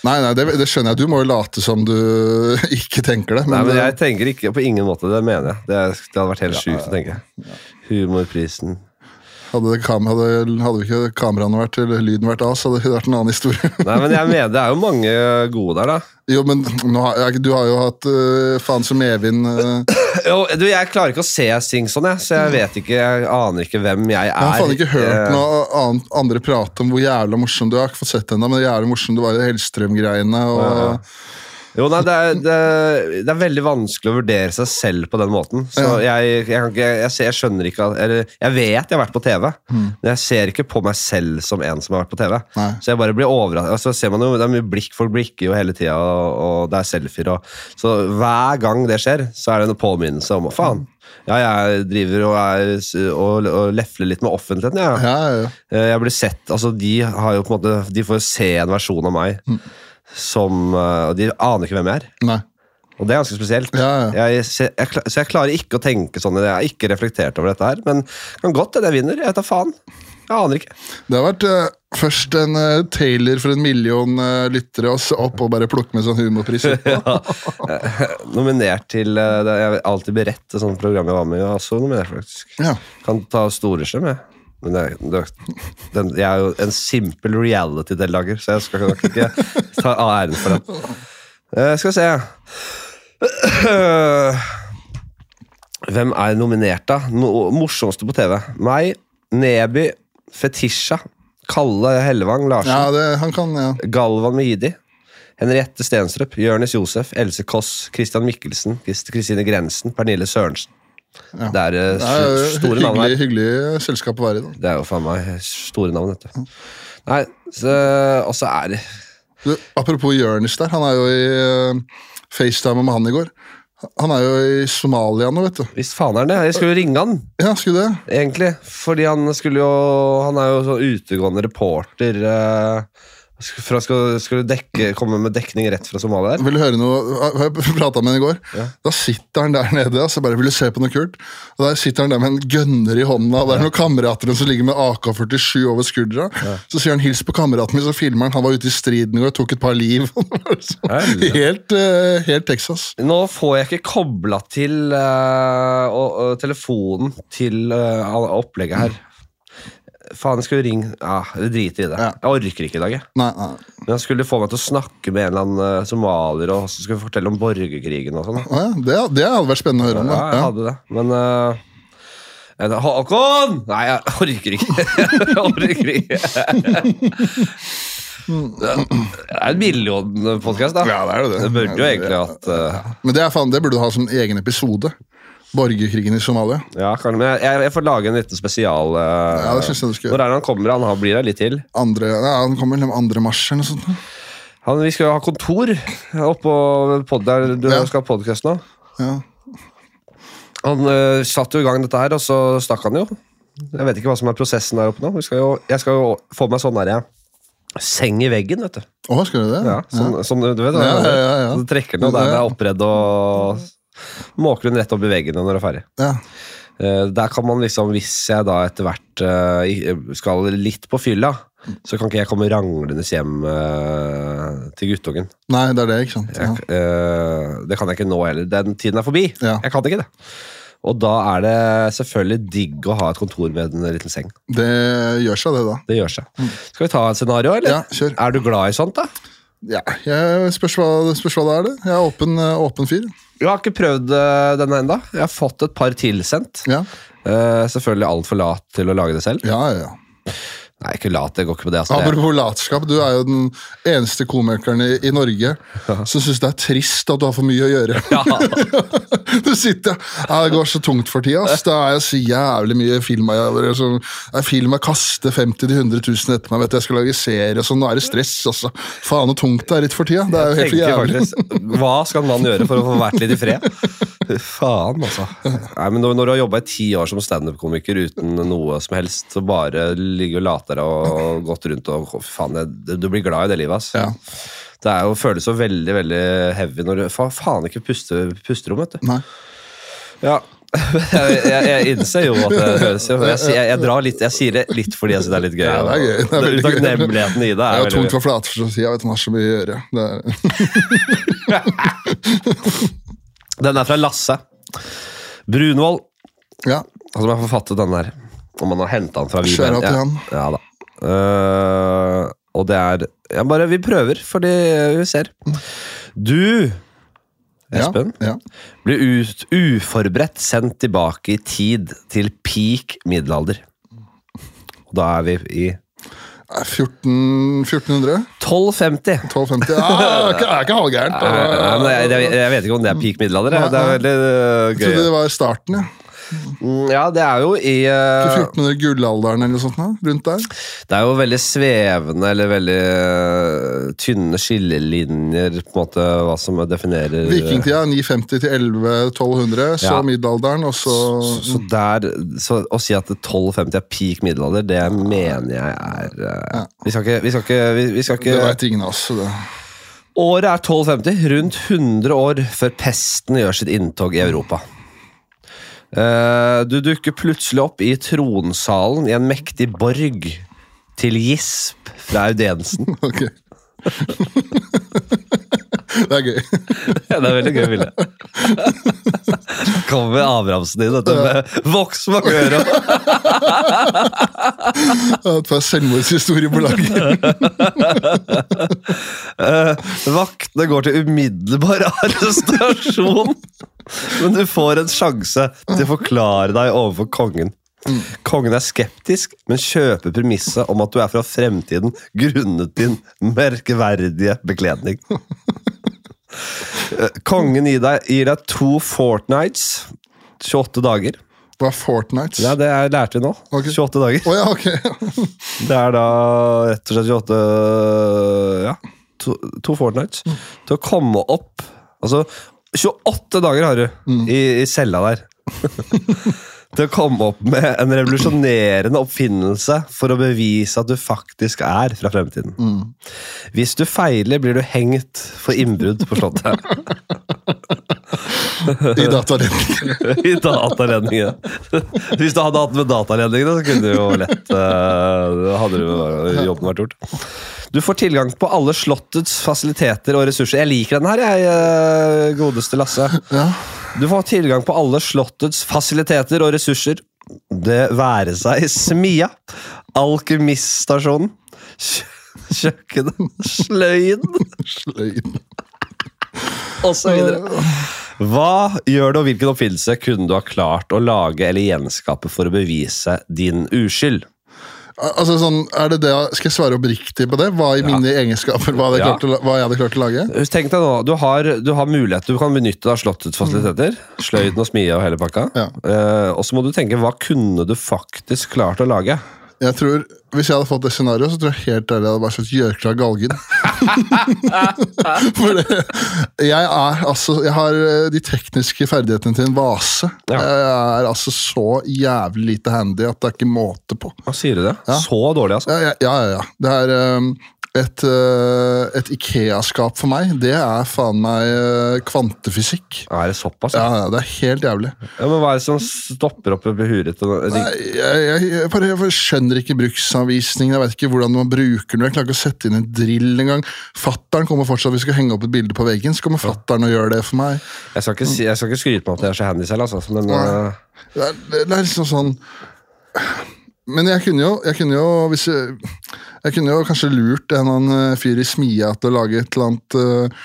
[SPEAKER 2] Nei, nei, det, det skjønner jeg. Du må jo late som du (laughs) ikke tenker det. Men, eh,
[SPEAKER 1] Nei, men jeg tenker ikke på ingen måte. Det mener jeg. Det, er- det hadde vært helt sjukt å tenke. Humorprisen.
[SPEAKER 2] hadde, det kam, hadde, hadde ikke kameraene vært eller lyden vært av, så hadde det vært en annen (laughs) historie.
[SPEAKER 1] Nei, men jeg mener, det er jo mange gode der, da.
[SPEAKER 2] jo, men nå har, jeg- du har jo hatt øh, faen som Evin øh,
[SPEAKER 1] Jo, du, jeg klarer ikke å se ting sånn, jeg, så jeg vet ikke, jeg aner ikke hvem jeg er.
[SPEAKER 2] Jeg har faen ikke hørt
[SPEAKER 1] Eh,
[SPEAKER 2] noe annet, andre prate om hvor jævla morsom du er. Jeg har ikke fått sett henne, men jævla morsom du var i Hellstrøm-greiene. og-
[SPEAKER 1] Jo, nei, det er, det, er- det er veldig vanskelig å vurdere seg selv på den måten. Så jeg, jeg, kan ikke, jeg, ser- jeg skjønner ikke at- Eller jeg vet jeg har vært på TV, men jeg ser ikke på meg selv som en som har vært på TV.
[SPEAKER 2] Mm. Nei.
[SPEAKER 1] Så jeg bare blir overrasket. Altså, ser man jo, det er mye blikk, folk blikker jo hele tida, og, og det er selfier og Så hver gang det skjer, så er det en påminnelse om å faen. Ja, jeg driver og, er, s- og, og lefler litt med offentligheten, jeg.
[SPEAKER 2] Ja, ja, ja.
[SPEAKER 1] Eh, Jeg blir sett, altså de har jo på en måte De får se en versjon av meg
[SPEAKER 2] Mm.
[SPEAKER 1] Som, eh, og de aner ikke hvem jeg er
[SPEAKER 2] Nei.
[SPEAKER 1] Og det er ganske spesielt
[SPEAKER 2] Ja,
[SPEAKER 1] Jeg, se- jeg, kla- Så jeg klarer ikke å tenke sånn Jeg har ikke reflektert over dette her Men kan godt det jeg vinner, jeg vet da faen Jeg aner
[SPEAKER 2] (laughs)
[SPEAKER 1] ikke.
[SPEAKER 2] Det har vært eh, først en eh, Taylor for en million eh, lyttere, og så opp og bare plukke med sånn humorpris. etterpå.
[SPEAKER 1] Eh, Nominert til eh, det- Jeg er alltid beredt til sånne program jeg var med i. Jeg er også nominert, faktisk.
[SPEAKER 2] Ja.
[SPEAKER 1] Kan ta storeskjerm, jeg. Men det, det, den, jeg er jo en simpel reality-deltaker, så jeg skal nok ikke ta æren for den. Eh, skal vi se Hvem er nominert, da? No, morsomste på TV? Meg, Neby, Fetisha, Kalle Hellevang Larsen.
[SPEAKER 2] Ja, det, han kan, ja.
[SPEAKER 1] Galvan Mehidi, Henriette Stenstrup, Jørnis Josef, Else Kåss, Christian Mikkelsen, Krist- Kristine Grensen, Pernille Sørensen.
[SPEAKER 2] Ja.
[SPEAKER 1] Det er eh,
[SPEAKER 2] Det
[SPEAKER 1] s-
[SPEAKER 2] er jo
[SPEAKER 1] store navn
[SPEAKER 2] hyggelig,
[SPEAKER 1] her.
[SPEAKER 2] hyggelig selskap å være i. Da.
[SPEAKER 1] Det er jo faen meg store navn, vet du. Nei, så, og så er det
[SPEAKER 2] Du, apropos Jonis der, han er jo i eh, FaceTime med han i går. Han er jo i Somalia nå, vet du.
[SPEAKER 1] Visst faen er han det. Jeg skulle jo ringe han,
[SPEAKER 2] Ja, skulle det?
[SPEAKER 1] egentlig. Fordi han skulle jo Han er jo sånn utegående reporter. eh, sk- For han skal- skulle dekke, komme med dekning rett fra Somalia. her.
[SPEAKER 2] Vil du høre noe? Jeg prata med henne i går. Da sitter han der nede og så bare vil du se på noe kult. Og Der sitter han der med en gønner i hånda, og det er noen kamerater som ligger med AK-47 over skuldra. Så sier han 'hils på kameraten min', så filmer han. Han var ute i striden i går, tok et par liv. (laughs) Så-
[SPEAKER 1] Helvete.
[SPEAKER 2] helt, eh, helt Texas.
[SPEAKER 1] Nå får jeg ikke kobla til eh, og, og telefonen til eh, all- opplegget her. Faen, jeg skulle ringe ja, Jeg driter i det.
[SPEAKER 2] Ja.
[SPEAKER 1] Jeg orker ikke i dag. jeg.
[SPEAKER 2] Nei, nei.
[SPEAKER 1] Men han skulle få meg til å snakke med en eller annen eh, somalier og så skulle jeg fortelle om borgerkrigen og sånn. da.
[SPEAKER 2] Å ja, det, det hadde vært spennende å høre om.
[SPEAKER 1] Ja, jeg
[SPEAKER 2] Da.
[SPEAKER 1] hadde det. Men eh, jeg sa, Håkon! Nei, jeg orker ikke. (laughs) jeg orker
[SPEAKER 2] (laughs)
[SPEAKER 1] ikke. det er en millionpodkast, da.
[SPEAKER 2] Ja. ja, det er jo det.
[SPEAKER 1] Det burde jo egentlig hatt eh,
[SPEAKER 2] Men det, er faen, det burde du ha som egen episode. Borgerkrigen i Somalia.
[SPEAKER 1] Ja, kanskje, men jeg, jeg, jeg får lage en liten spesial. eh,
[SPEAKER 2] Ja, det synes jeg du skal
[SPEAKER 1] Når
[SPEAKER 2] gjøre.
[SPEAKER 1] er det han kommer? Han har- blir der litt til.
[SPEAKER 2] Andre, ja, han kommer vel 2. mars eller noe sånt.
[SPEAKER 1] Han, vi skal jo ha kontor oppå pod der du
[SPEAKER 2] Ja.
[SPEAKER 1] skal ha podkast nå.
[SPEAKER 2] Ja.
[SPEAKER 1] Han eh, satte jo i gang dette her, og så stakk han jo. Jeg vet ikke hva som er prosessen der oppe nå. Vi skal jo, jeg skal jo få meg sånn der, jeg. Seng i veggen, vet du.
[SPEAKER 2] Å, skal du det?
[SPEAKER 1] Ja, sånn, sånn, du vet,
[SPEAKER 2] Ja, ja, ja, ja.
[SPEAKER 1] Så du trekker den, og der den er oppredd, og måker den rett opp i veggen når du er ferdig.
[SPEAKER 2] Ja.
[SPEAKER 1] Eh, Der kan man liksom, hvis jeg da etter hvert eh, i- skal litt på fylla, så kan ikke jeg komme ranglende hjem eh, til guttungen.
[SPEAKER 2] Nei, det er det, ikke sant? Ja.
[SPEAKER 1] Jeg, eh, det kan jeg ikke nå heller. Den tiden er forbi.
[SPEAKER 2] Ja.
[SPEAKER 1] Jeg kan ikke det. Og da er det selvfølgelig digg å ha et kontor med en liten seng.
[SPEAKER 2] Det gjør seg, det, da.
[SPEAKER 1] Det gjør seg. Skal vi ta et scenario, eller?
[SPEAKER 2] Mm. Ja, kjør.
[SPEAKER 1] Er du glad i sånt, da?
[SPEAKER 2] Ja, jeg spørs hva, spørs hva det er, det. Jeg er åpen, eh, åpen fyr.
[SPEAKER 1] Jeg har ikke prøvd eh, denne enda. Jeg har fått et par tilsendt.
[SPEAKER 2] Ja,
[SPEAKER 1] Eh, selvfølgelig altfor lat til å lage det selv.
[SPEAKER 2] ja, ja. ja.
[SPEAKER 1] Nei, ikke lat, det går ikke på det. Altså. Det-
[SPEAKER 2] Apropos latskap, du er jo den eneste komikeren i, i Norge som syns det er trist at du har for mye å gjøre.
[SPEAKER 1] (laughs)
[SPEAKER 2] (laughs) du sitter ja, Det går så tungt for tida. ass. Det er jo så jævlig mye film jeg, det er sånn- jeg, film jeg kaster 50 000-100 000 etter meg. Vet du, jeg skal lage serie og sånn. Nå er det stress, altså. Faen hvor tungt det er litt for tida. Det er jo helt for
[SPEAKER 1] tenker
[SPEAKER 2] jævlig.
[SPEAKER 1] faktisk, Hva skal man gjøre for å få vært litt i fred? Faen, altså. Nei, men når, når du har jobba i ti år som standup-komiker uten noe som helst, så bare ligge og late deg og gått rundt og fy Faen, det, du blir glad i det livet, ass.
[SPEAKER 2] Ja.
[SPEAKER 1] Det er jo, føles så veldig veldig heavy når du fa, faen ikke puste, pusterom, vet du.
[SPEAKER 2] (laughs) Nei.
[SPEAKER 1] Ja. (laughs) Jeg, jeg, jeg innser jo at det høres jo jeg, sier- jeg, jeg drar litt, jeg sier det litt fordi jeg syns det er litt gøy.
[SPEAKER 2] Ja, det er gøy. Det er veldig gøy.
[SPEAKER 1] Takknemligheten i det
[SPEAKER 2] Det
[SPEAKER 1] er
[SPEAKER 2] er jo
[SPEAKER 1] veldig
[SPEAKER 2] tungt for flatfrøsida. Vet du, han har så mye å gjøre. Det er, (laughs)
[SPEAKER 1] Den er fra Lasse. Brunvoll,
[SPEAKER 2] ja,
[SPEAKER 1] han som har forfattet den der. Om han har henta den fra
[SPEAKER 2] Shout
[SPEAKER 1] Viben.
[SPEAKER 2] out til han.
[SPEAKER 1] ja da. Eh, og det er ja, bare Vi prøver, fordi vi ser. Du, Espen,
[SPEAKER 2] Ja, ja.
[SPEAKER 1] blir ut, uforberedt sendt tilbake i tid til peak middelalder. Og da er vi i
[SPEAKER 2] 14, 1400?
[SPEAKER 1] 1250.
[SPEAKER 2] 1250?
[SPEAKER 1] (laughs)
[SPEAKER 2] Ah, det er ikke halvgærent.
[SPEAKER 1] Nei, nei,
[SPEAKER 2] Jeg
[SPEAKER 1] men jeg, jeg, jeg vet ikke om det er peak middelalder. jeg. Det er veldig øh,
[SPEAKER 2] trodde
[SPEAKER 1] gøy.
[SPEAKER 2] det var starten. Ja.
[SPEAKER 1] Mm, Ja, det er jo i øh,
[SPEAKER 2] 1400 gullalderen eller noe sånt. nå, Rundt der.
[SPEAKER 1] Det er jo veldig svevende eller veldig eh, tynne skillelinjer på en måte hva som definerer
[SPEAKER 2] Vikingtida 950 til 1100-1200,
[SPEAKER 1] Ja.
[SPEAKER 2] så middelalderen, og så
[SPEAKER 1] Så, så der, så Å si at 1250 er peak middelalder, det mener jeg er eh, Vi skal ikke, vi skal ikke, vi, vi skal
[SPEAKER 2] Det
[SPEAKER 1] ikke
[SPEAKER 2] veit ingen av oss. så Det. (laughs)
[SPEAKER 1] Året er 1250, rundt 100 år før pesten gjør sitt inntog i Europa. Eh, du dukker plutselig opp i tronsalen i en mektig borg til gisp fra audiensen.
[SPEAKER 2] Ok. (laughs) det er gøy. (laughs)
[SPEAKER 1] Ja, det er veldig gøy bilde. Kommer Abrahamsen inn, dette med voks bak øret.
[SPEAKER 2] At det er selvmordshistorie på
[SPEAKER 1] (laughs)
[SPEAKER 2] lager.
[SPEAKER 1] Eh, Vaktene går til umiddelbar arrestasjon, men du får en sjanse til å forklare deg overfor kongen. Kongen er skeptisk, men kjøper premisset om at du er fra fremtiden grunnet din merkeverdige bekledning. Eh, Kongen gir deg, gir deg to fortnights, 28 dager.
[SPEAKER 2] Hva er Fortnites?
[SPEAKER 1] Ja,
[SPEAKER 2] Å
[SPEAKER 1] Det er- lærte vi nå.
[SPEAKER 2] Ok.
[SPEAKER 1] 28 dager.
[SPEAKER 2] ja, ok. (laughs)
[SPEAKER 1] Det er da rett og slett 28 Ja, to, to Fortnites til å komme opp Altså 28 dager har du i, i cella der. (laughs) til å komme opp med en revolusjonerende oppfinnelse for å bevise at du faktisk er fra fremtiden. Hvis du feiler, blir du hengt for innbrudd på Slottet.
[SPEAKER 2] I dataledning.
[SPEAKER 1] (laughs) I dataledningene. (laughs) Hvis du hadde hatt med dataledningene, så kunne du jo lett eh, Hadde du jobben vært gjort. Du får tilgang på alle Slottets fasiliteter og ressurser. Jeg liker den her, jeg, eh, godeste Lasse.
[SPEAKER 2] Ja.
[SPEAKER 1] Du får tilgang på alle Slottets fasiliteter og ressurser. Det være seg smia, alkymiststasjonen, kjø- kjøkkenet, sløyden
[SPEAKER 2] Sløyd.
[SPEAKER 1] osv. Hva gjør du, og hvilken oppfinnelse kunne du ha klart å lage eller gjenskape for å bevise din uskyld?
[SPEAKER 2] Altså sånn, er det det, Skal jeg svare oppriktig på det? Hva i mine egenskaper hva, hadde jeg
[SPEAKER 1] Ja.
[SPEAKER 2] klart å, la- hva jeg hadde klart å lage?
[SPEAKER 1] Tenk deg nå, Du har, du har mulighet, du kan benytte deg av Slottets fasiliteter. Sløyden og smia og hele pakka.
[SPEAKER 2] Ja.
[SPEAKER 1] Eh, og så må du tenke hva kunne du faktisk klart å lage?
[SPEAKER 2] Jeg tror, Hvis jeg hadde fått det scenarioet, så tror jeg helt ærlig jeg hadde bare sagt Gjørkla Galgen.
[SPEAKER 1] (laughs)
[SPEAKER 2] For det, jeg er altså Jeg har eh, de tekniske ferdighetene til en vase.
[SPEAKER 1] Ja.
[SPEAKER 2] Jeg er altså så jævlig lite handy at det er ikke måte på.
[SPEAKER 1] Hva sier du det? Så dårlig, altså?
[SPEAKER 2] Ja, ja, ja. ja, ja. Det er eh, et, eh, et Ikea-skap for meg. Det er faen meg eh, kvantefysikk.
[SPEAKER 1] Er det såpass?
[SPEAKER 2] Ja,
[SPEAKER 1] Ja.
[SPEAKER 2] ja, det er helt jævlig.
[SPEAKER 1] men Hva er det som stopper opp oppi huet ditt?
[SPEAKER 2] Nei, jeg, jeg, jeg, bare, jeg skjønner ikke bruksanvisningen. Jeg vet ikke hvordan man bruker den. Jeg klarer ikke å sette inn en drill engang. Fattern kommer fortsatt hvis vi skal henge opp et bilde på veggen. Så kommer fattern og gjør det for meg.
[SPEAKER 1] Jeg skal ikke, si- jeg skal ikke skryte meg opp at jeg er så handy selv, altså. Men,
[SPEAKER 2] Nei.
[SPEAKER 1] eh,
[SPEAKER 2] Det er, det er liksom sånn Men jeg kunne jo, jeg kunne jo hvis jeg, jeg kunne jo kanskje lurt en eller annen eh, fyr i smia til å lage et eller annet eh,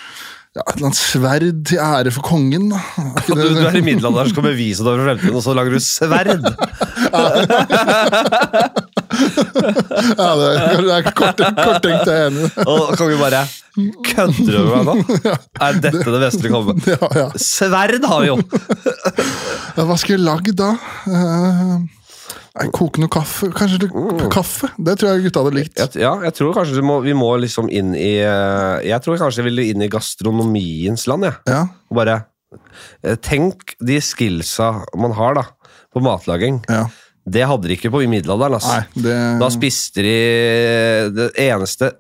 [SPEAKER 2] ja, et eller annet sverd til ære for kongen, da. Er ikke
[SPEAKER 1] du, du er
[SPEAKER 2] det-
[SPEAKER 1] i middelalderen som skal bevise deg over fremtiden, og så lager du sverd!
[SPEAKER 2] Ja, det er, det er kort- korttenkt, jeg er enig i (laughs) det.
[SPEAKER 1] Og kan vi bare Kødder du med meg nå? Er dette det beste du kommer med?
[SPEAKER 2] Ja, ja.
[SPEAKER 1] Sverd har vi jo!
[SPEAKER 2] Ja, Hva skal jeg lage da? Eh, nei, koke noe kaffe? Kanskje det, kaffe? Det tror jeg gutta hadde likt.
[SPEAKER 1] Jeg, Mm. ja, jeg tror kanskje du må, vi må liksom inn i eh, Jeg tror kanskje jeg vil inn i gastronomiens land, jeg.
[SPEAKER 2] Ja.
[SPEAKER 1] Og bare eh, Tenk de skillsa man har da på matlaging.
[SPEAKER 2] ja.
[SPEAKER 1] Det hadde de ikke på i middelalderen. ass.
[SPEAKER 2] Nei, det
[SPEAKER 1] Da spiste de Det eneste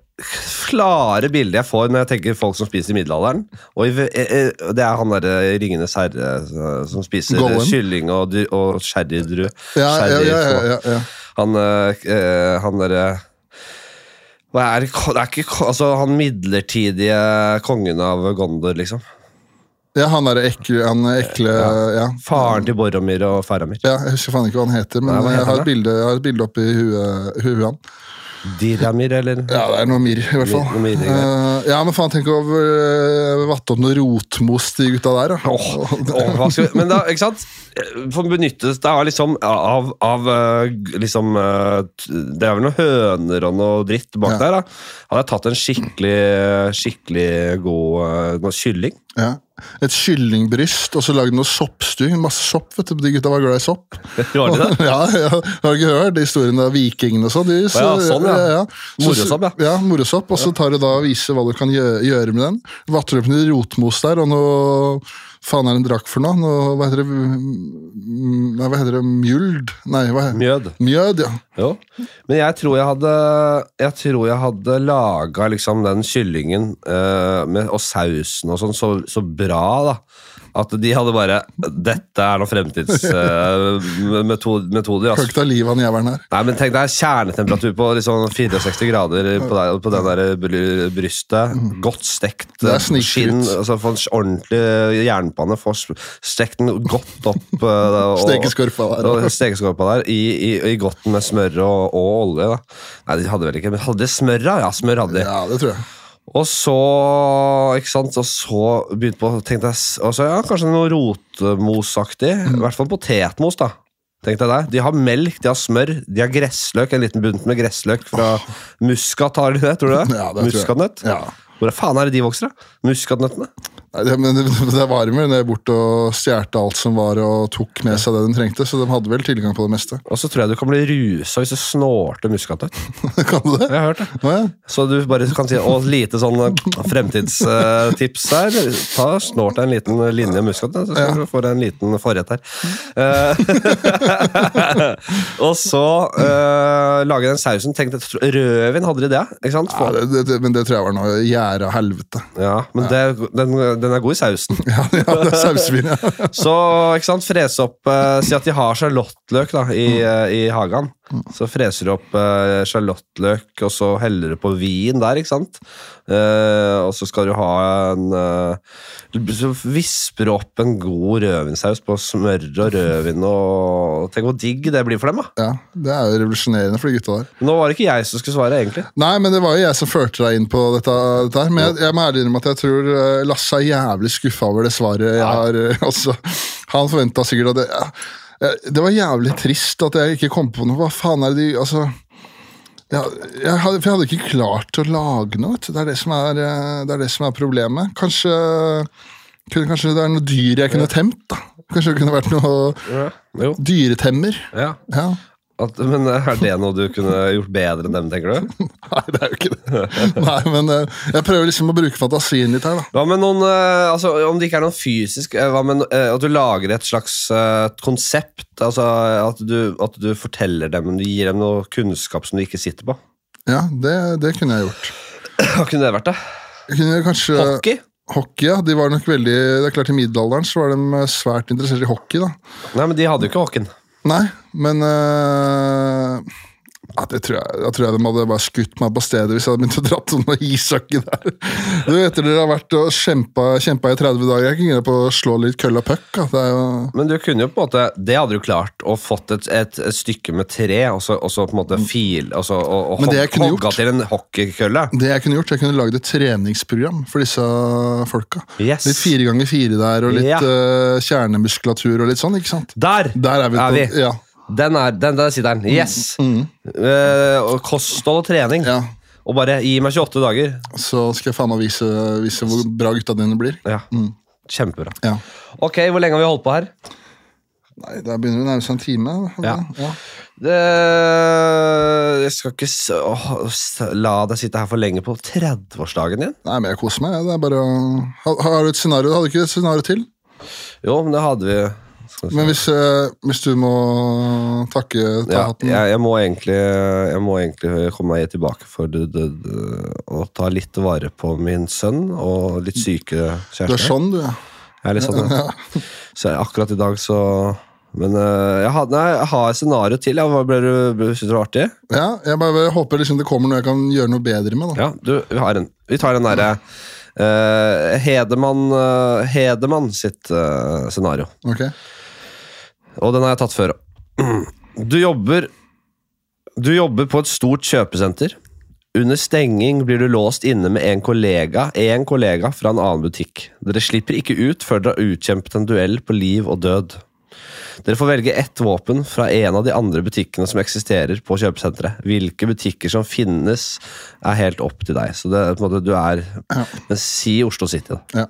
[SPEAKER 1] klare bildet jeg får når jeg tenker folk som spiser i middelalderen og i, eh, eh, Det er han derre Ringenes herre eh, som spiser
[SPEAKER 2] Gollum.
[SPEAKER 1] kylling og, dru- og sherrydru.
[SPEAKER 2] ja, ja, ja, ja, ja, ja.
[SPEAKER 1] Han, eh, eh, han derre hva er, det ko- det er ikke, ko- altså, han midlertidige kongen av Gondor, liksom.
[SPEAKER 2] ja, han derre ekle, han ekle ja.
[SPEAKER 1] Faren til Boromir og Faramir.
[SPEAKER 2] ja. Jeg husker faen ikke hva han heter, men
[SPEAKER 1] Nei, hva heter
[SPEAKER 2] jeg, har
[SPEAKER 1] han
[SPEAKER 2] et bilde, jeg har et bilde oppi huet, huet han.
[SPEAKER 1] Diramir, eller?
[SPEAKER 2] Ja, det er noe mirr, i hvert fall.
[SPEAKER 1] Noe mirr,
[SPEAKER 2] Eh, ja, men faen, tenk å uh, vatte opp noe rotmos til de gutta der, da.
[SPEAKER 1] Åh, åh, hva skal vi- Men da, ikke sant? For benyttes det av liksom av, av eh, g- liksom eh, t- Det er vel noen høner og noe dritt bak
[SPEAKER 2] Ja.
[SPEAKER 1] der, da. Hadde jeg tatt en skikkelig skikkelig god eh, noe kylling
[SPEAKER 2] Ja. Et kyllingbryst, og så lagde noe soppstyng. Masse sopp, vet du. De gutta var glad i sopp.
[SPEAKER 1] (laughs) Var det det?
[SPEAKER 2] Ja, (laughs) ja, Har du ikke hørt historien av vikingene og sånn? De- så-
[SPEAKER 1] ja, sånn, ja.
[SPEAKER 2] Så-
[SPEAKER 1] Morosopp, ja.
[SPEAKER 2] ja. Morosopp, og så tar du da og viser hva du kan gjøre, gjøre med den. Vatter opp noe rotmos der, og noe faen er det en drakk for noe? noe hva heter det? Mm, Nei, hva heter det? Mjuld? Nei, hva heter
[SPEAKER 1] Mjød.
[SPEAKER 2] Mjød, ja.
[SPEAKER 1] Jo. Men jeg tror jeg hadde Jeg tror jeg hadde laga liksom den kyllingen eh, med, og sausen og sånn så, så bra, da. At de hadde bare Dette er noen eh, fremtidsmetoder.
[SPEAKER 2] Kan ikke ta livet av den jævelen her.
[SPEAKER 1] Nei, men tenk deg kjernetemperatur på liksom 64 grader på, deg, på den der bry- brystet. Godt stekt
[SPEAKER 2] Mm. Det er
[SPEAKER 1] eh,
[SPEAKER 2] snikskryt.
[SPEAKER 1] skinn. Altså, få en s- ordentlig jernpanne. Få s- stekt den godt opp. eh, og-
[SPEAKER 2] Stekeskorpa der.
[SPEAKER 1] og Stekeskorpa der. I, i, i godten med smør og, og olje. Da. Nei, de hadde vel ikke Men hadde de smør, da? Ja, smør hadde de.
[SPEAKER 2] Ja, det tror jeg.
[SPEAKER 1] Og så ikke sant, og så begynte på, tenkte jeg, s- og så, ja, kanskje noe rotmosaktig. I hvert fall potetmos, da. Tenkte jeg der. De har melk, de har smør, de har gressløk. En liten bunt med gressløk fra Muskat. Har de det, tror du det?
[SPEAKER 2] (laughs) Ja, det tror jeg.
[SPEAKER 1] Muskatnøtt?
[SPEAKER 2] Ja.
[SPEAKER 1] Hvor faen er det de vokser, da? Muskatnøttene?
[SPEAKER 2] Nei, det, men det, det var jo med det bort og stjerte alt som var, og tok med seg det de trengte. Så de hadde vel tilgang på det meste. (laughs)
[SPEAKER 1] Og så tror jeg du kan bli rusa hvis du snorter muskatnøtt.
[SPEAKER 2] kan du det?
[SPEAKER 1] Jeg har hørt det.
[SPEAKER 2] Nå, ja.
[SPEAKER 1] Så du bare kan si Og lite sånn eh, fremtidstips her. Ta Snort deg en liten linje muskat, så skal du få deg en liten forrett her. Eh, (laughs) og så uh, lage den sausen. Tenk, deg, rødvin hadde de det, ikke sant?
[SPEAKER 2] Ja, det, det, det, men det tror jeg var noe gjære av helvete. (laughs)
[SPEAKER 1] Ja, men det, den, den er god i sausen.
[SPEAKER 2] Ja, ja det er sausvin,
[SPEAKER 1] (laughs)
[SPEAKER 2] ja.
[SPEAKER 1] Så ikke sant, frese opp eh, Si at de har sjalottløk da, i, eh, i hagen. Så freser du opp eh, sjalottløk, og så heller du på vin der, ikke sant. Eh, og så skal du ha en eh, Så visper du opp en god rødvinsaus på smør og rødvin, og tenk hvor digg det blir for dem, da.
[SPEAKER 2] ja. Det er jo revolusjonerende for de gutta der.
[SPEAKER 1] Nå var det ikke jeg som skulle svare, egentlig.
[SPEAKER 2] Nei, men det var jo jeg som førte deg inn på dette. dette her. Men jeg, jeg må ærlig innrømme at jeg tror eh, Lasse er jævlig skuffa over det svaret jeg har. eh, Altså, han forventa sikkert at det, ja, eh, det var jævlig trist at jeg ikke kom på noe. Hva faen er det de Altså ja, jeg hadde, for jeg hadde ikke klart å lage noe. vet du. Det er det som er, eh, det er, det som er problemet. Kanskje, kunne, kanskje det er noe dyr jeg kunne temt? da. Kanskje det kunne vært noe
[SPEAKER 1] Jo,
[SPEAKER 2] dyretemmer?
[SPEAKER 1] ja.
[SPEAKER 2] Ja.
[SPEAKER 1] At, men eh, er det noe du kunne gjort bedre enn dem, tenker du?
[SPEAKER 2] (laughs) Nei, det er jo ikke det. Nei, men eh, jeg prøver liksom å bruke fantasien litt her, da.
[SPEAKER 1] Hva med noen, eh, altså Om det ikke er noen fysisk eh, hva med, no- eh, At du lager et slags eh, konsept? altså at du, at du forteller dem, men du gir dem noe kunnskap som de ikke sitter på? (laughs)
[SPEAKER 2] Ja, det, det kunne jeg gjort.
[SPEAKER 1] Hva kunne det vært, da?
[SPEAKER 2] Jeg kunne kanskje
[SPEAKER 1] Hockey?
[SPEAKER 2] Hockey, ja. De var nok veldig, det er klart I middelalderen så var de eh, svært interessert i hockey. da.
[SPEAKER 1] Nei, men de hadde jo ikke hockeyen.
[SPEAKER 2] Nei, men øh, ja, det tror jeg, Da tror jeg de hadde bare skutt meg på stedet hvis jeg hadde begynt å dratt sånn med ishockey der. Du vet Etter dere har vært og kjempa, kjempa i 30 dager, jeg kunne på å slå litt køll og puck. da. Det er jo,
[SPEAKER 1] Men du kunne jo på en måte, det hadde du klart, og fått et, et, et stykke med tre, og så, og så på en måte fil, og, så, og, og
[SPEAKER 2] Men det
[SPEAKER 1] hog-
[SPEAKER 2] jeg kunne gjort-
[SPEAKER 1] hogga til en hockeykølle.
[SPEAKER 2] det Jeg kunne gjort, jeg kunne lagd et treningsprogram for disse folka.
[SPEAKER 1] Yes.
[SPEAKER 2] Litt fire ganger fire der, og litt
[SPEAKER 1] Ja.
[SPEAKER 2] øh, kjernemuskulatur og litt sånn. ikke sant?
[SPEAKER 1] Der!
[SPEAKER 2] Der er
[SPEAKER 1] Er
[SPEAKER 2] vi. på,
[SPEAKER 1] vi?
[SPEAKER 2] Ja,
[SPEAKER 1] Den er, den, der sitter
[SPEAKER 2] Mm.
[SPEAKER 1] den. Yes! Eh, og kosthold og trening.
[SPEAKER 2] ja.
[SPEAKER 1] Og bare gi meg 28 dager.
[SPEAKER 2] Så skal jeg faen meg vise, vise hvor bra gutta dine blir.
[SPEAKER 1] Ja. Kjempebra.
[SPEAKER 2] Mm. Ja.
[SPEAKER 1] Ok, hvor lenge har vi holdt på her?
[SPEAKER 2] Nei, Da begynner det å nærme seg en time.
[SPEAKER 1] Ja.
[SPEAKER 2] Ja.
[SPEAKER 1] Det, Eh, jeg skal ikke s- åh, s- la deg sitte her for lenge på 30-årsdagen din.
[SPEAKER 2] Nei, men jeg koser meg. jeg. Det er bare å... har, har du et scenario? Hadde du ikke et scenario til?
[SPEAKER 1] Jo, men det hadde vi. Skal vi se.
[SPEAKER 2] Men hvis, eh, hvis du må takke ta
[SPEAKER 1] Ja,
[SPEAKER 2] hatten
[SPEAKER 1] jeg, jeg, må egentlig, jeg må egentlig komme meg tilbake for det- det- det- å ta litt vare på min sønn og litt syke
[SPEAKER 2] Du er
[SPEAKER 1] kjæreste.
[SPEAKER 2] sånn, du. ja.
[SPEAKER 1] Jeg er litt sånn, ja.
[SPEAKER 2] Ja.
[SPEAKER 1] Så jeg- akkurat i dag så Men eh, jeg, har- nei, jeg har et scenario til. Ja. Hva ble du, ble- Synes du det var artig?
[SPEAKER 2] ja, jeg bare håper liksom det kommer noe jeg kan gjøre noe bedre med. da.
[SPEAKER 1] Ja, du, vi, har en, vi tar den derre eh, Hedemann, eh, Hedemann sitt eh, scenario.
[SPEAKER 2] Ok.
[SPEAKER 1] Og den har jeg tatt før òg. Du jobber Du jobber på et stort kjøpesenter. Under stenging blir du låst inne med en kollega En kollega fra en annen butikk. Dere slipper ikke ut før dere har utkjempet en duell på liv og død. Dere får velge ett våpen fra en av de andre butikkene som eksisterer på kjøpesenteret. Hvilke butikker som finnes, er helt opp til deg. Så det er på en måte du er Men si Oslo City, da.
[SPEAKER 2] Ja.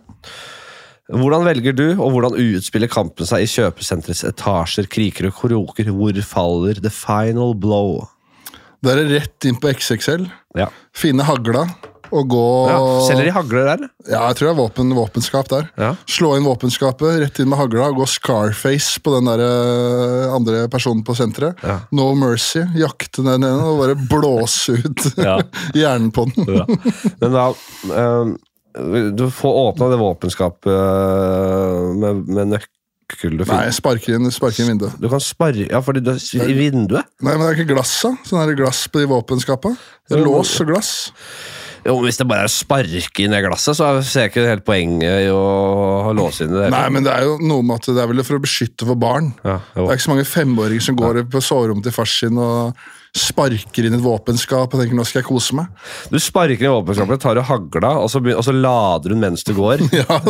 [SPEAKER 1] Hvordan velger du, og hvordan utspiller kampen seg i kjøpesenterets etasjer, kriker og kroker? Hvor faller the final blow?
[SPEAKER 2] Da er det rett inn på XXL,
[SPEAKER 1] Ja.
[SPEAKER 2] finne hagla og gå
[SPEAKER 1] ja. Selger de hagler der?
[SPEAKER 2] Ja, jeg tror det er våpen, våpenskap der.
[SPEAKER 1] Ja.
[SPEAKER 2] Slå inn våpenskapet, rett inn med hagla, gå Scarface på den der eh, andre personen på senteret.
[SPEAKER 1] Ja.
[SPEAKER 2] No mercy. Jakte den ene og bare blåse ut (laughs)
[SPEAKER 1] Ja. (laughs)
[SPEAKER 2] hjernen på den.
[SPEAKER 1] Men da, ehm, Du får åpna det våpenskapet eh, med, med nøkkel du
[SPEAKER 2] Nei,
[SPEAKER 1] finner.
[SPEAKER 2] sparker inn, sparker inn vinduet.
[SPEAKER 1] Du kan sparre Ja, fordi du er i vinduet?
[SPEAKER 2] Nei, men det er ikke glass, da. Sånn er det glass på de våpenskapene. Det er
[SPEAKER 1] Jo,
[SPEAKER 2] Lås og glass.
[SPEAKER 1] Jo, men Hvis det bare er å sparke inn det glasset, så ser jeg ikke helt poenget i å låse inn i det. hele.
[SPEAKER 2] Nei, men det er jo noe med at det er vel for å beskytte for barn.
[SPEAKER 1] Ja, jo.
[SPEAKER 2] Det er ikke så mange femåringer som går på soverommet til far sin og sparker inn et våpenskap og tenker 'nå skal jeg kose meg'. (laughs)
[SPEAKER 1] Du sparker i våpenskapet, tar du hagla, og så, begyn- og så lader hun mens du går.
[SPEAKER 2] Ja,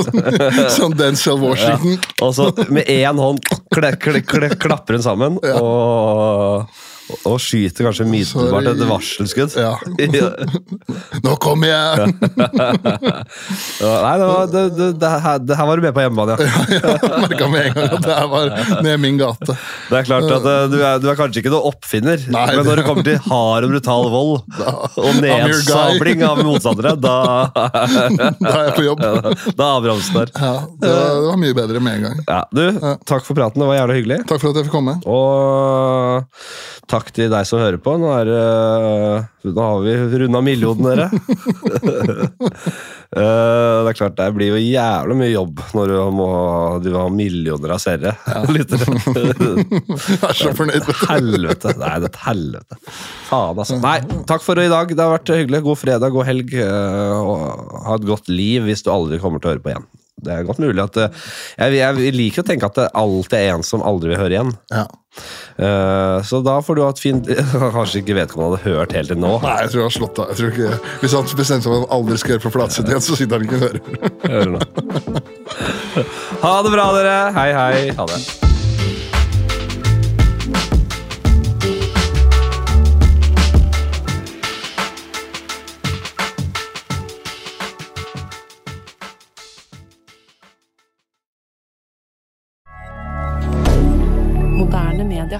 [SPEAKER 2] Sånn Denzel Washington.
[SPEAKER 1] Og så med én hånd kle, kle, kle, klapper hun sammen og, og skyter kanskje umiddelbart et varselskudd.
[SPEAKER 2] Ja.
[SPEAKER 1] (laughs) Ja.
[SPEAKER 2] 'Nå kommer jeg!'
[SPEAKER 1] Nei, det, var, det, det, det, her, det her var du med på hjemmebane, ja.
[SPEAKER 2] Ja, Merka med en gang at det her var ned min gate.
[SPEAKER 1] Det er klart at eh, du er, du er kanskje ikke noen oppfinner,
[SPEAKER 2] Nei.
[SPEAKER 1] men når det kommer til hard og brutal vold og
[SPEAKER 2] I'm your guy.
[SPEAKER 1] nedsabling av motstandere, da,
[SPEAKER 2] Da er jeg
[SPEAKER 1] (laughs)
[SPEAKER 2] på (laughs) jobb.
[SPEAKER 1] da er Abrahamsen der.
[SPEAKER 2] Ja, det var, det var mye bedre med en gang.
[SPEAKER 1] Ja, du, takk for praten. Det var jævlig hyggelig.
[SPEAKER 2] Takk for at jeg fikk komme.
[SPEAKER 1] Og takk til deg som hører på. Nå, er, det- nå har vi runda millionen, dere. (laughs) Eh, det er klart, det blir jo jævlig mye jobb når du må drive og ha millioner av seere. (laughs) Lyttere.
[SPEAKER 2] Jeg er så fornøyd. vet du.
[SPEAKER 1] helvete. Nei, det er et helvete. Faen, altså. Nei, takk for i dag. Det har vært hyggelig. God fredag, god helg. eh, Og ha et godt liv hvis du aldri kommer til å høre på igjen. Det er godt mulig at eh, Jeg, jeg liker å tenke at det alltid er en som aldri vil høre igjen.
[SPEAKER 2] Ja.
[SPEAKER 1] Eh, Så da får du ha et fint (laughs) Kanskje ikke vedkommende hadde hørt helt til nå.
[SPEAKER 2] Nei, jeg tror jeg har slått av. Jeg tror ikke, hvis han bestemte seg for at han aldri skal høre på Flatseth igjen, så sitter han ikke og hører.
[SPEAKER 1] Hører nå. Ha det bra, dere. Hei, hei. Ha det.
[SPEAKER 3] Moderne media.